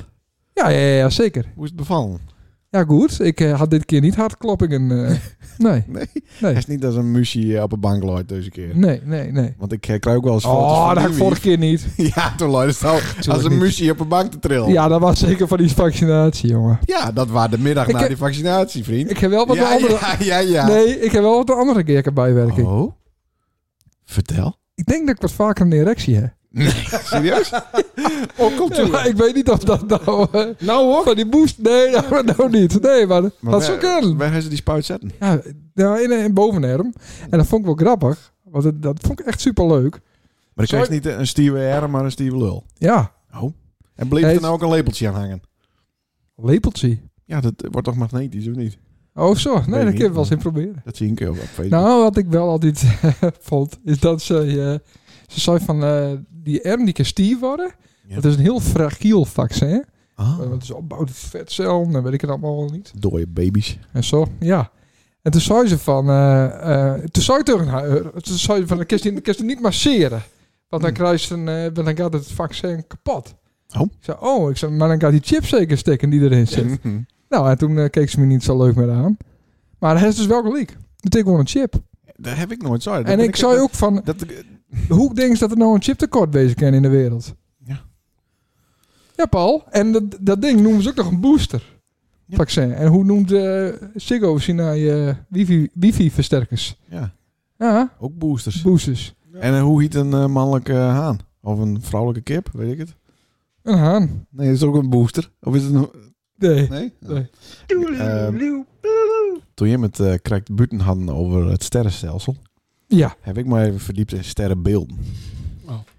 Ja, ja, ja, zeker. Hoe is het bevallen? Ja, goed. Ik eh, had dit keer niet hartkloppingen. eh. nee, Nee. nee, Het is niet als een muzie eh, op een bank looit deze keer. nee, nee, nee. Want ik eh, krijg ook wel eens foto's Oh, van dat had ik Louis. vorige keer niet. Ja, toen looit het al als een niet. muzie op een bank te trillen. Ja, Ja, dat was zeker van die vaccinatie, jongen. dat was de middag Ik na heb- die vaccinatie, vriend. Ik heb wel wat de ja, andere... ja, ja, ja. Nee, ik heb wel wat de andere keer bijwerking. Oh. Vertel. Ik denk dat ik wat vaker een erectie heb. Serieus? Oh, komt Ja, u. maar ik weet niet of dat nou... eh, Nou hoor. van die boost? Nee, nou, nou niet. Nee, maar, Maar dat waar- zou kunnen. Waar gaan ze die spuit zetten? Ja, nou, in, in bovenarm. En dat vond ik wel grappig. Want het- dat vond ik echt superleuk. Maar ik Zou krijg niet eh, een stieve R, maar een stieve lul. Ja, En bleef Nee, er het- nou ook een lepeltje aan hangen? lepeltje. Ja, dat eh, wordt toch magnetisch, of niet? Oh zo, nee, dat niet, kun je wel eens maar- in proberen. Dat zie ik ook op Facebook. Nou, wat ik wel altijd eh, vond, is dat ze, eh, ze zei van eh, die arm die kan stier worden. Ja. Dat is een heel fragiel vaccin. Ah, Want het is opbouwd uit vetcellen en weet ik het allemaal wel niet. dode baby's. En zo, ja. En toen zei ze van, eh, eh, toen zei ik tegen haar, eh, toen zei ze van, dan kun je, dan kun je het niet masseren. Want dan Hmm. krijg je een, eh, want dan gaat het vaccin kapot. Oh. Ik zei, oh, ik zei, maar dan gaat die chip zeker stikken die erin zit. Mhm. Nou, en toen eh, keek ze me niet zo leuk meer aan. Maar hij is dus wel gelijk. Het is gewoon een chip. Dat heb ik nooit zo. en ik zei ook van, Dat, hoe denk je dat er nou een chiptekort bezig kan in de wereld? Ja. Ja, Paul. En dat, dat ding noemen ze ook nog een booster. Ja. Vaccin. En hoe noemt eh Ziggo Sina eh wifi, wifi-versterkers? ja, Ja, ook boosters. boosters. en eh, hoe heet een eh, mannelijke haan? Of een vrouwelijke kip, weet ik het. Een haan. Nee, dat is ook een booster. Of is het een... Nee. Nee? Nee. Ehm, toen je met eh Krijgt Buten hadden over het sterrenstelsel, Ja. heb ik me even verdiept in sterrenbeelden.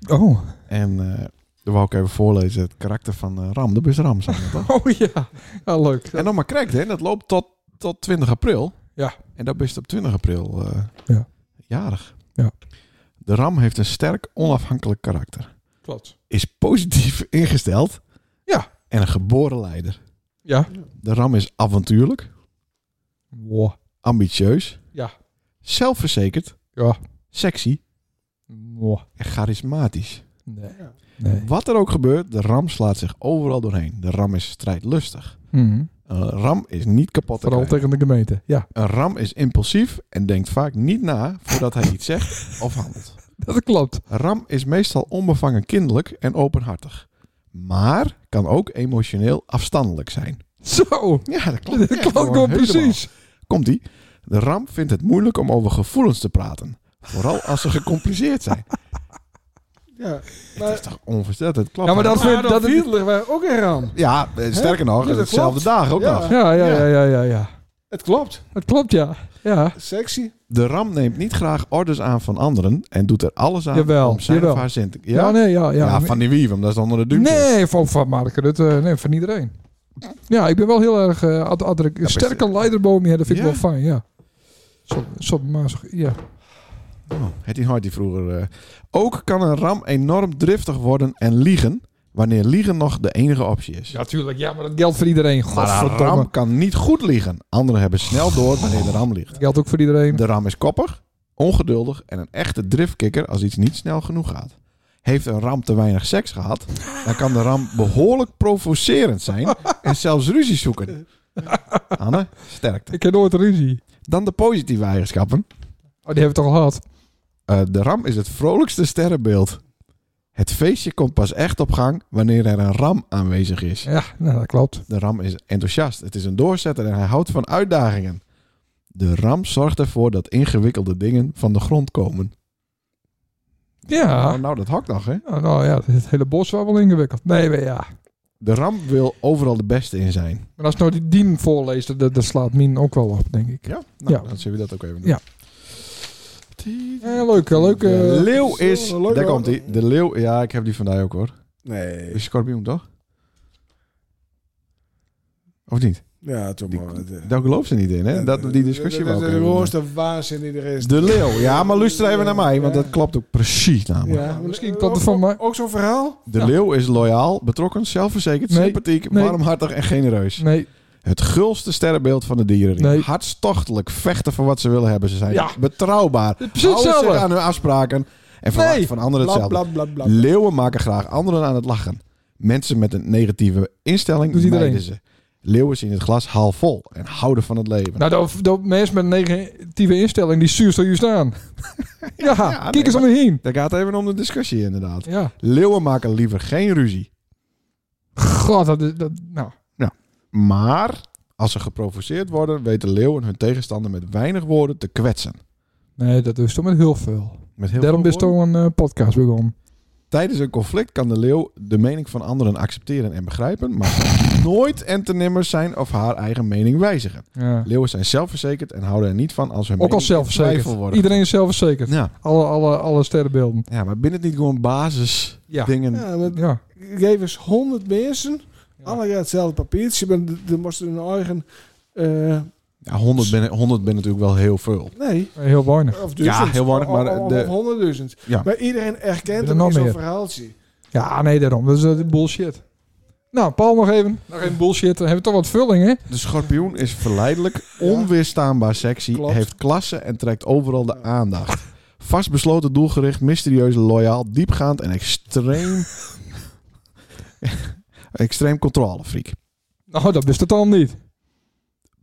Oh. En eh daar wou ik even voorlezen het karakter van eh, Ram. Dat is Ram, zeg maar, toch? Oh ja. Ja, leuk. En dan maar Krijgt, hè. Dat loopt tot, tot 20 april. Ja. En dat is op 20 april eh, Ja. jarig. Ja. De Ram heeft een sterk onafhankelijk karakter. Klopt. is positief ingesteld. Ja. En een geboren leider. Ja. De ram is avontuurlijk, Wow. ambitieus. Ja. Zelfverzekerd, Ja. sexy Wow. en charismatisch. Nee. Ja. Nee. Wat er ook gebeurt, de ram slaat zich overal doorheen. De ram is strijdlustig. Mhm. Een ram is niet kapot te Vooral krijgen. tegen de gemeente. Ja, Een ram is impulsief en denkt vaak niet na voordat hij iets zegt of handelt. dat klopt. Een ram is meestal onbevangen kindelijk en openhartig. Maar kan ook emotioneel afstandelijk zijn. Zo. Ja, dat klopt. Dat echt klopt gewoon helemaal. precies. Komt ie. De ram vindt het moeilijk om over gevoelens te praten. Vooral als ze gecompliceerd zijn. Ja. Dat is Maar, toch onvoorstelbaar. Dat klopt. Ja, maar dat maar vind dat dat wiel wij ook in raam. Ja, eh, sterker nog, Ja, dat hetzelfde klopt. dag ook Ja. nog. Ja, ja, ja, ja, ja, ja. Het klopt. Het klopt, ja. Ja, Sexy. De ram neemt niet graag orders aan van anderen en doet er alles aan Jawel, om zijn jawel. of haar zin te... Ja, ja nee, ja, ja. Ja, van die wief, omdat ze onder de duim zit. nee, van, van Mark Rutte, nee, van iedereen. Ja, ik ben wel heel erg eh ad, ad, een best- sterke leiderboom, ja, dat vind ik Ja? wel fijn, ja. Zo, zo, maar zo, ja. Oh, het die hard die vroeger. eh. Ook kan een ram enorm driftig worden en liegen, wanneer liegen nog de enige optie is. Ja, natuurlijk. Ja, maar dat geldt voor iedereen. maar een Godverdomme. ram kan niet goed liegen. Anderen hebben snel door wanneer de ram ligt. Dat geldt ook voor iedereen. De ram is koppig, ongeduldig en een echte driftkikker als iets niet snel genoeg gaat. Heeft een ram te weinig seks gehad, dan kan de ram behoorlijk provocerend zijn en zelfs ruzie zoeken. Anne, sterkte. Ik heb nooit ruzie. Dan de positieve eigenschappen. Oh, die hebben we toch al gehad? Eh, de ram is het vrolijkste sterrenbeeld. Het feestje komt pas echt op gang wanneer er een ram aanwezig is. Ja, nou, dat klopt. De ram is enthousiast. Het is een doorzetter en hij houdt van uitdagingen. De ram zorgt ervoor dat ingewikkelde dingen van de grond komen. Ja. Nou, nou, dat hakt nog, hè? Nou, nou ja, het hele bos was wel ingewikkeld. Nee, maar ja. De ram wil overal de beste in zijn. Maar als nou die dien voorleest, dat- dat, dat slaat Min ook wel op, denk ik. Ja? Nou, Ja. dan zullen we dat ook even doen. Ja. Ja, leuk, eh, leuk. De eh. leeuw is... Zo, leuk, daar hoor. komt hij. De leeuw... Ja, ik heb die vandaag ook, hoor. Nee. Is schorpioen, toch? Of niet? Ja, toch Die- maar. eh, Daar gelooft ze niet in, hè? Dat, die discussie Dat wel. is de hoogste waanzin die er is. De leeuw. Ja, maar luister even naar mij, want dat klopt ook precies namelijk. Ja, Nou, misschien klopt het van mij. eh, Ook zo'n verhaal? De Ja. leeuw is loyaal, betrokken, zelfverzekerd, Nee. sympathiek, Nee. warmhartig en genereus. Nee, Het gulste sterrenbeeld van de dieren. Nee. Hartstochtelijk, vechten voor wat ze willen hebben. Ze zijn Ja. betrouwbaar. precies Houden hetzelfde. zich aan hun afspraken en verwachten Nee. van anderen Bla hetzelfde. bla bla bla. Leeuwen maken graag anderen aan het lachen. Mensen met een negatieve instelling Doet iedereen. mijden ze. Leeuwen zien het glas half vol en houden van het leven. Nou, dat, dat mensen met een negatieve instelling, die zuurst er juist aan. ja, nee, kijk eens maar- om je heen. Daar gaat even om de discussie inderdaad. Ja. Leeuwen maken liever geen ruzie. God, dat is... Dat, nou, Maar als ze geprovoceerd worden, weten leeuwen hun tegenstander met weinig woorden te kwetsen. nee, dat is toch met heel veel. Met heel Daarom veel is toch een eh, podcast begonnen. Tijdens een conflict kan de leeuw de mening van anderen accepteren en begrijpen, maar kan nooit en te nimmer zijn of haar eigen mening wijzigen. Ja. Leeuwen zijn zelfverzekerd en houden er niet van als hun Ook al mening in twijfel zelfverzekerd. worden. Iedereen is zelfverzekerd. Ja. Alle, alle, alle sterrenbeelden. ja, maar binnen het niet gewoon basisdingen? Ja. Ja, maar Ja. geef eens 100 mensen. Ja. Alle gaan hetzelfde papiertje. Maar de- de moesten hun eigen... eh, Ja, 100 ben, 100 ben natuurlijk wel heel veel. nee. Heel weinig. Of Ja, duizend. heel weinig, maar Of- of- de- of honderdduizend. Ja. Maar iedereen erkent Er hem nog in zo'n meer. verhaaltje. Ja, nee, daarom. Dat is eh, bullshit. Nou, Paul nog even. Nog even bullshit. Dan hebben we toch wat vulling, hè? De schorpioen is verleidelijk, onweerstaanbaar sexy, Klopt. heeft klasse en trekt overal de aandacht. Vastbesloten, doelgericht, mysterieus, loyaal, diepgaand en extreem... extreem controlefreak. Nou, dat wist het al niet.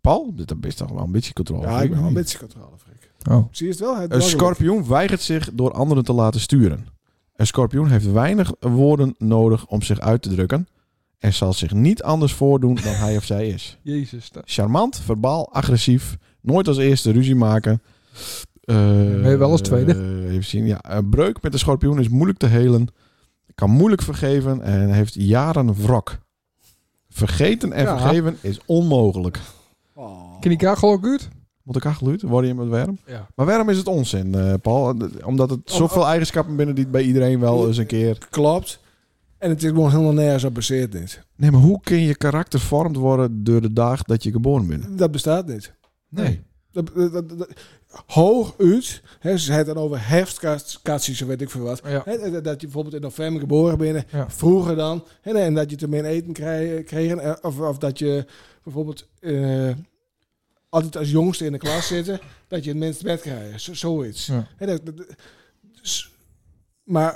Paul, dit is toch wel een beetje controle. Ja, ik ben wel een beetje controle, Frik. Oh. Zie je het wel? Het Oh, Een schorpioen weigert zich door anderen te laten sturen. Een schorpioen heeft weinig woorden nodig om zich uit te drukken en zal zich niet anders voordoen dan hij of zij is. Jezus. dat- Charmant, verbaal, agressief, nooit als eerste ruzie maken. Eh, je wel als tweede. eh, even zien, ja. Een breuk met een schorpioen is moeilijk te helen, kan moeilijk vergeven en heeft jaren wrok. Vergeten en Ja. vergeven is onmogelijk. Oh, Ken ik haar geloof ik uit? Moet ik geluid? Word je met warm? Ja. Maar waarom is het onzin, eh, Paul? Eh, Omdat het zoveel eigenschappen binnen die bij iedereen wel eens een keer... Klopt. En het is gewoon helemaal nergens op baseerd dit. Nee, maar hoe kan je karakter vormd worden door de dag dat je geboren bent? Dat bestaat niet. Nee. Dat, dat, dat- dat- hoog uit, hè, ze het dan over herfstkatsies of weet ik veel wat. Ja. Hè, dat- dat- dat je bijvoorbeeld in november geboren bent, Ja. vroeger dan. Hè, en dat je te min eten kreeg, kreeg eh, of, of dat je bijvoorbeeld eh, altijd als jongste in de klas zitten, dat je het minst bed krijgt. Zo, zoiets. Ja. Hè, dat- dat- dat- s- maar,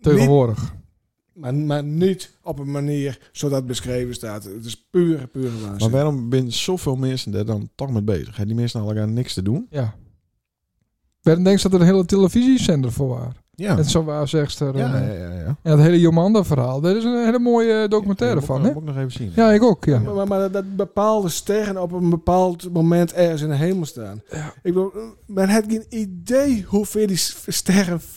Tegenwoordig. maar, maar niet op een manier zodat het beschreven staat. Het is pure, pure Maar waanzin. waarom zijn zoveel mensen er dan toch mee bezig? Hebben die mensen nou elkaar niks te doen? Ja. Werden denk dat er een hele televisiezender voor was. Ja. Met zo'n waarzegster. Ja, en, ja, ja. ja. en het hele Jomanda-verhaal. Daar is een hele mooie eh, documentaire Ja, van, moet hè? ik- Moet ik nog even zien. Ja, ik ook, ja. Maar, maar, maar dat bepaalde sterren op een bepaald moment ergens in de hemel staan. Ik bedoel, men had geen idee hoeveel die s- sterren... v-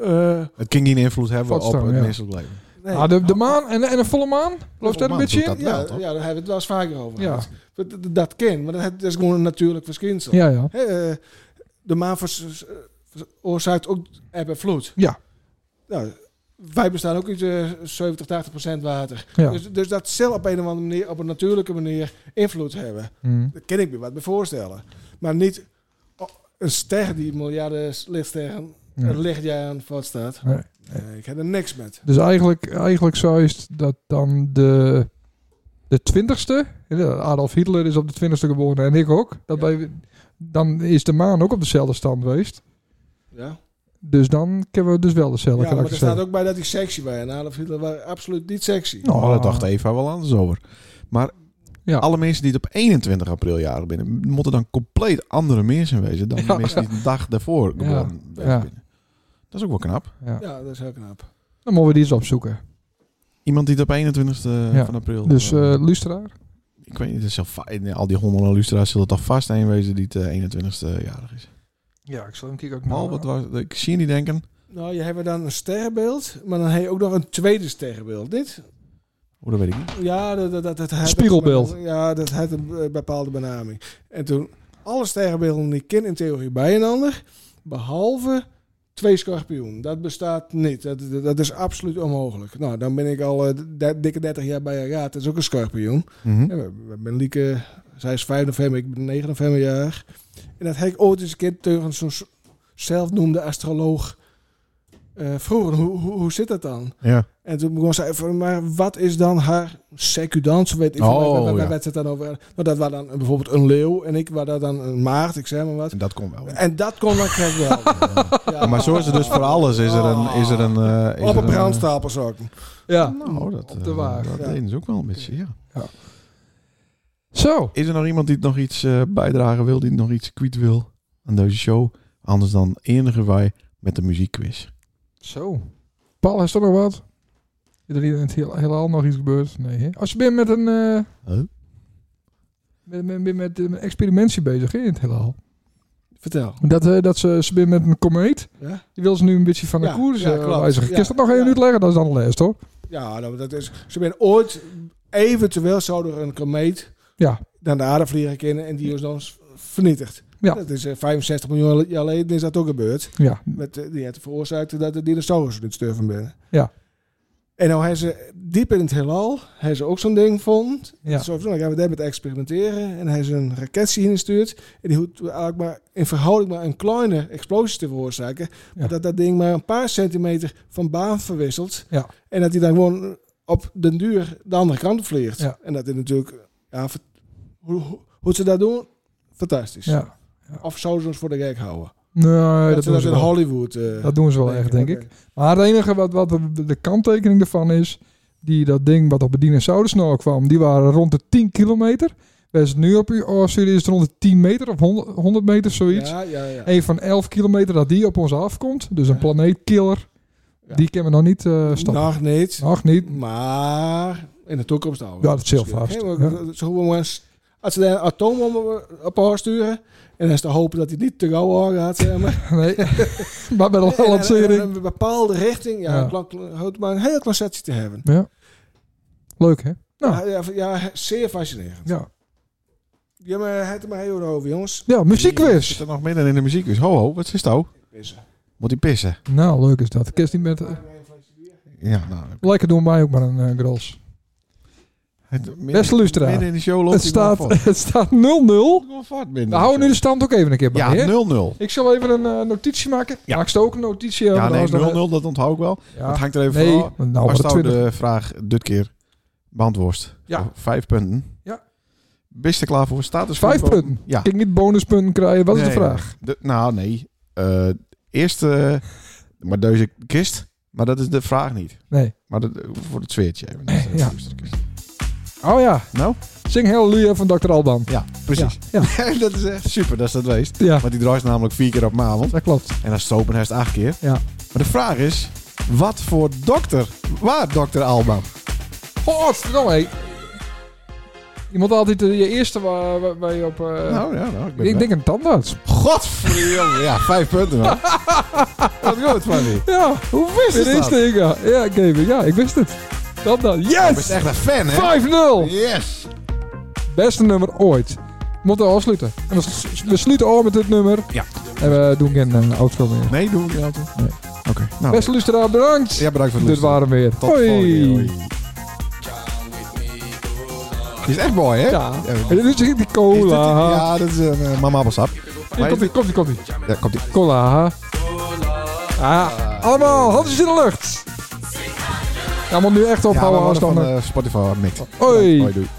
eh, Het kan geen invloed hebben op Vatstaan, het ja. menselijk leven. nee. Ah, de, de maan en, en een volle maan? Loopt daar een maan beetje doet dat in? ja, wel, ja, toch? daar hebben we het wel eens vaker over Ja. gehad. Dat, dat, dat kan, maar dat, het is gewoon een natuurlijk verschijnsel. Ja, ja. Hè, eh, de maan vers- vers- veroorzaakt ook eb en vloed. Ja. Nou, wij bestaan ook uit eh, 70, 80 procent water. ja. Dus, dus dat zal op een of andere manier, op een natuurlijke manier, invloed hebben. Hm. Daar kan ik me wat bij voorstellen. Maar niet oh, een ster die miljarden lichtsterren Nee. Het ligt jij aan vaststaat. mm. Nee. Nee, ik heb er niks met. Dus eigenlijk, eigenlijk zou je het dat dan de, de twintigste, Adolf Hitler is op de twintigste geboren en ik ook, dat Ja. wij, dan is de maan ook op dezelfde stand geweest. Ja, Dus dan kunnen we dus wel dezelfde ja maar er karakters staat hebben. ook bij dat hij sexy was. En Adolf Hitler was absoluut niet sexy. Nou, Ah. dat dacht Eva wel anders over. Maar Ja. alle mensen die het op 21 april jarig binnen, moeten dan compleet andere mensen wezen dan de Ja. mensen die een dag daarvoor Ja. geboren zijn Ja. binnen. Dat is ook wel knap. Ja, dat is heel knap. Dan moeten we die eens opzoeken. Iemand die het op 21 Ja. van april... Dus eh eh, luisteraar, ik weet niet, het is heel fa- in al die honderden lustra's zullen toch vast een wezen die de 21ste jarig is. Ja, ik zal hem kijken ook Mal, wat was, ik zie je niet denken. Nou, je hebt dan een sterrenbeeld, maar dan heb je ook nog een tweede sterrenbeeld. Dit? Hoe Oh, dat weet ik niet. Ja, dat, dat, dat, dat had- Spiegelbeeld. Ja, dat had een eh, bepaalde benaming. En toen, alle sterrenbeelden die kind in theorie bij een ander, behalve twee schorpioen. Dat bestaat niet. Dat, dat, dat is absoluut onmogelijk. Nou, dan ben ik al eh, d- dikke 30 jaar bij een raad. Dat is ook een schorpioen. Mhm. Ja, we- we ben Lieke, zij is 5 november, ik ben 9 november jaar. En dat heb ik ooit eens een keer tegen zo'n s- zelfnoemde astroloog eh, vroeger. Hoe, hoe, hoe zit dat dan? Ja. En toen begon zij van, maar wat is dan haar secudans? Weet ik Oh, veel, waar, waar, ja. waar werd het dan over? Nou, dat was dan bijvoorbeeld een leeuw en ik was daar dan een maart, ik zeg maar wat. En dat komt wel. En dat kon dan krijg wel. Ja. Maar zo is het dus voor alles. Is er een... Is er een eh, is Op er een brandstapel zo. Ja. Nou, dat, Op de eh, waag. dat Ja. deden ze ook wel een beetje, ja. Zo. Is er nog iemand die nog iets eh, bijdragen wil, die nog iets kwijt wil aan deze show? Anders dan enige wij met de muziekquiz. Zo. Paul, is er nog wat? Is er in het heel, heelal nog iets gebeurd? Nee. hè? Als je bent met een... eh, Huh? Met, met, met, met een experimentie bezig hè, in het heelal. Vertel. Dat, eh, dat ze, ze zijn met een komeet. Ja? Die wil ze nu een beetje van de Ja, koers ja, eh, klopt. wijzigen. Kun je Ja, dat nog even ja. uitleggen? Dat is dan de les, hoor. Ja, nou, dat is, ze ben ooit, eventueel zou er een komeet Ja. naar de aarde vliegen kunnen en die is dan s- vernietigd. Ja. Dat is eh, 65 miljoen jaar geleden is dat ook gebeurd. Ja. Met, eh, die heeft veroorzaakt dat de dinosaurussen het sterven binnen. Ja. En nou hebben ze diep in het heelal hebben ze ook zo'n ding gevonden. Ja. Zo van, nou gaan we daarmee experimenteren. En hij is een raketje heen gestuurd. En die hoeft eigenlijk maar in verhouding maar een kleine explosie te veroorzaken. Maar dat dat ding maar een paar centimeter van baan verwisselt. Ja. En dat hij dan gewoon op den duur de andere kant op vliegt. Ja. En dat is natuurlijk... Ja, ver- hoe, hoe, hoe ze dat doen, fantastisch. ja. Of zouden ze ons voor de gek houden? Nee, dat, dat ze doen dat ze in wel. Hollywood... eh, Dat doen ze wel denken. echt, denk Oké. ik. Maar het enige wat, wat de, de kanttekening ervan is... Die dat ding wat op de dinosaurusnor kwam... Die waren rond de 10 kilometer. Wij zijn nu op uw oorstuur is het rond de 10 meter of 100, 100 meter, zoiets. Ja, ja, ja. Een van 11 kilometer dat die op ons afkomt. Dus een Ja. planeetkiller. Ja. Die kunnen we nog niet eh stoppen. Nog niet. Nog niet. Maar in de toekomst al. Oh. Ja, dat is heel vast. Ja. Ze hoeven maar eens- als ze daar een atoom om- op haar sturen. En dan is te hopen dat hij niet te gauw aan gaat. Zeg maar. Nee. maar bij de En- en- en lancering. Een bepaalde richting. Ja, Ja. een klank- houdt maar een hele conceptie te hebben. Ja. Leuk, hè? Ja, Nou. ja, ja, zeer fascinerend. Ja. Ja, maar het er maar heel over, jongens. Ja, Zit muziekquiz. er nog midden in de muziekquiz? Ho, ho, wat is nou? Moet hij pissen? Nou, leuk is dat. Kerst niet met... eh, Ja, nou. lekker doen wij ook maar een eh gros. Het, midden, Beste luisteraar. Midden in de show loopt Het hij gewoon staat, vast. het staat 0-0. Gewoon vast binnen. We houden nu de stand ook even een keer bij. Ja, hè? 0-0. Ik zal even een eh, notitie maken. Ja. Maak ze ook een notitie? Ja, eh, nee, 0-0, anders dan- dat onthoud ik wel. Ja. Het hangt er even Nee, vanaf. want nou Als was nou het 20. de Oh. vraag dit keer beantwoord. Ja. Voor Vijf punten. Ja. Bist er klaar voor? Staat dus Vijf voor- punten. Ja. Ik niet bonuspunten krijgen. Wat is de Nee, vraag? De- nou, nee. Eh eerste, maar deze kist. Maar dat is de vraag niet. Nee. Maar dat, voor het zweertje even. Nee, Dat is ja. de eerste kist. Oh ja. Nou? Zing Hallelujah van Dr. Alban. Ja, precies. Ja, dat is echt super, dat is dat geweest. ja. Want die draait namelijk vier keer op mijn avond. dat klopt. En dan stopen hij het acht keer. Ja. Maar de vraag is, wat voor dokter? Waar dokter Alba? Oh, Godverdomme. hé. Je moet altijd eh, je eerste waar, waar- waar je op... eh, nou ja, nou, ik ben ik denk een tandarts. Godverdomme. Ja, vijf punten man. Wat goed van die. Ja, hoe wist je het dat? eerste ik, ja. Ja, Gamer, ja, ik wist het. Dan dan. Je bent Yes! echt een fan, hè? 5-0! Yes. Beste nummer ooit. Moeten we afsluiten. En we, s- we sluiten af met dit nummer. Ja. En we doen geen uh, outro meer. Nee, doe ik niet auto. Nee. Oké. Nou, Beste luisteraar, bedankt. ja, bedankt voor het dit luisteren. waren we weer. Tot de volgende keer. Hoi. Die is echt mooi, hè? Ja. Is En dit dit is die die- cola. ja, dat is een eh, mama appelsap. Hier komt ie, komt ie, komt ie. Ja, komt ie. Cola. Cola, Ah, allemaal, handjes in de lucht. Ja, moet nu echt Ja, we ophouden worden als dan... van eh, Spotify mikt. Hoi. Hoi, doei.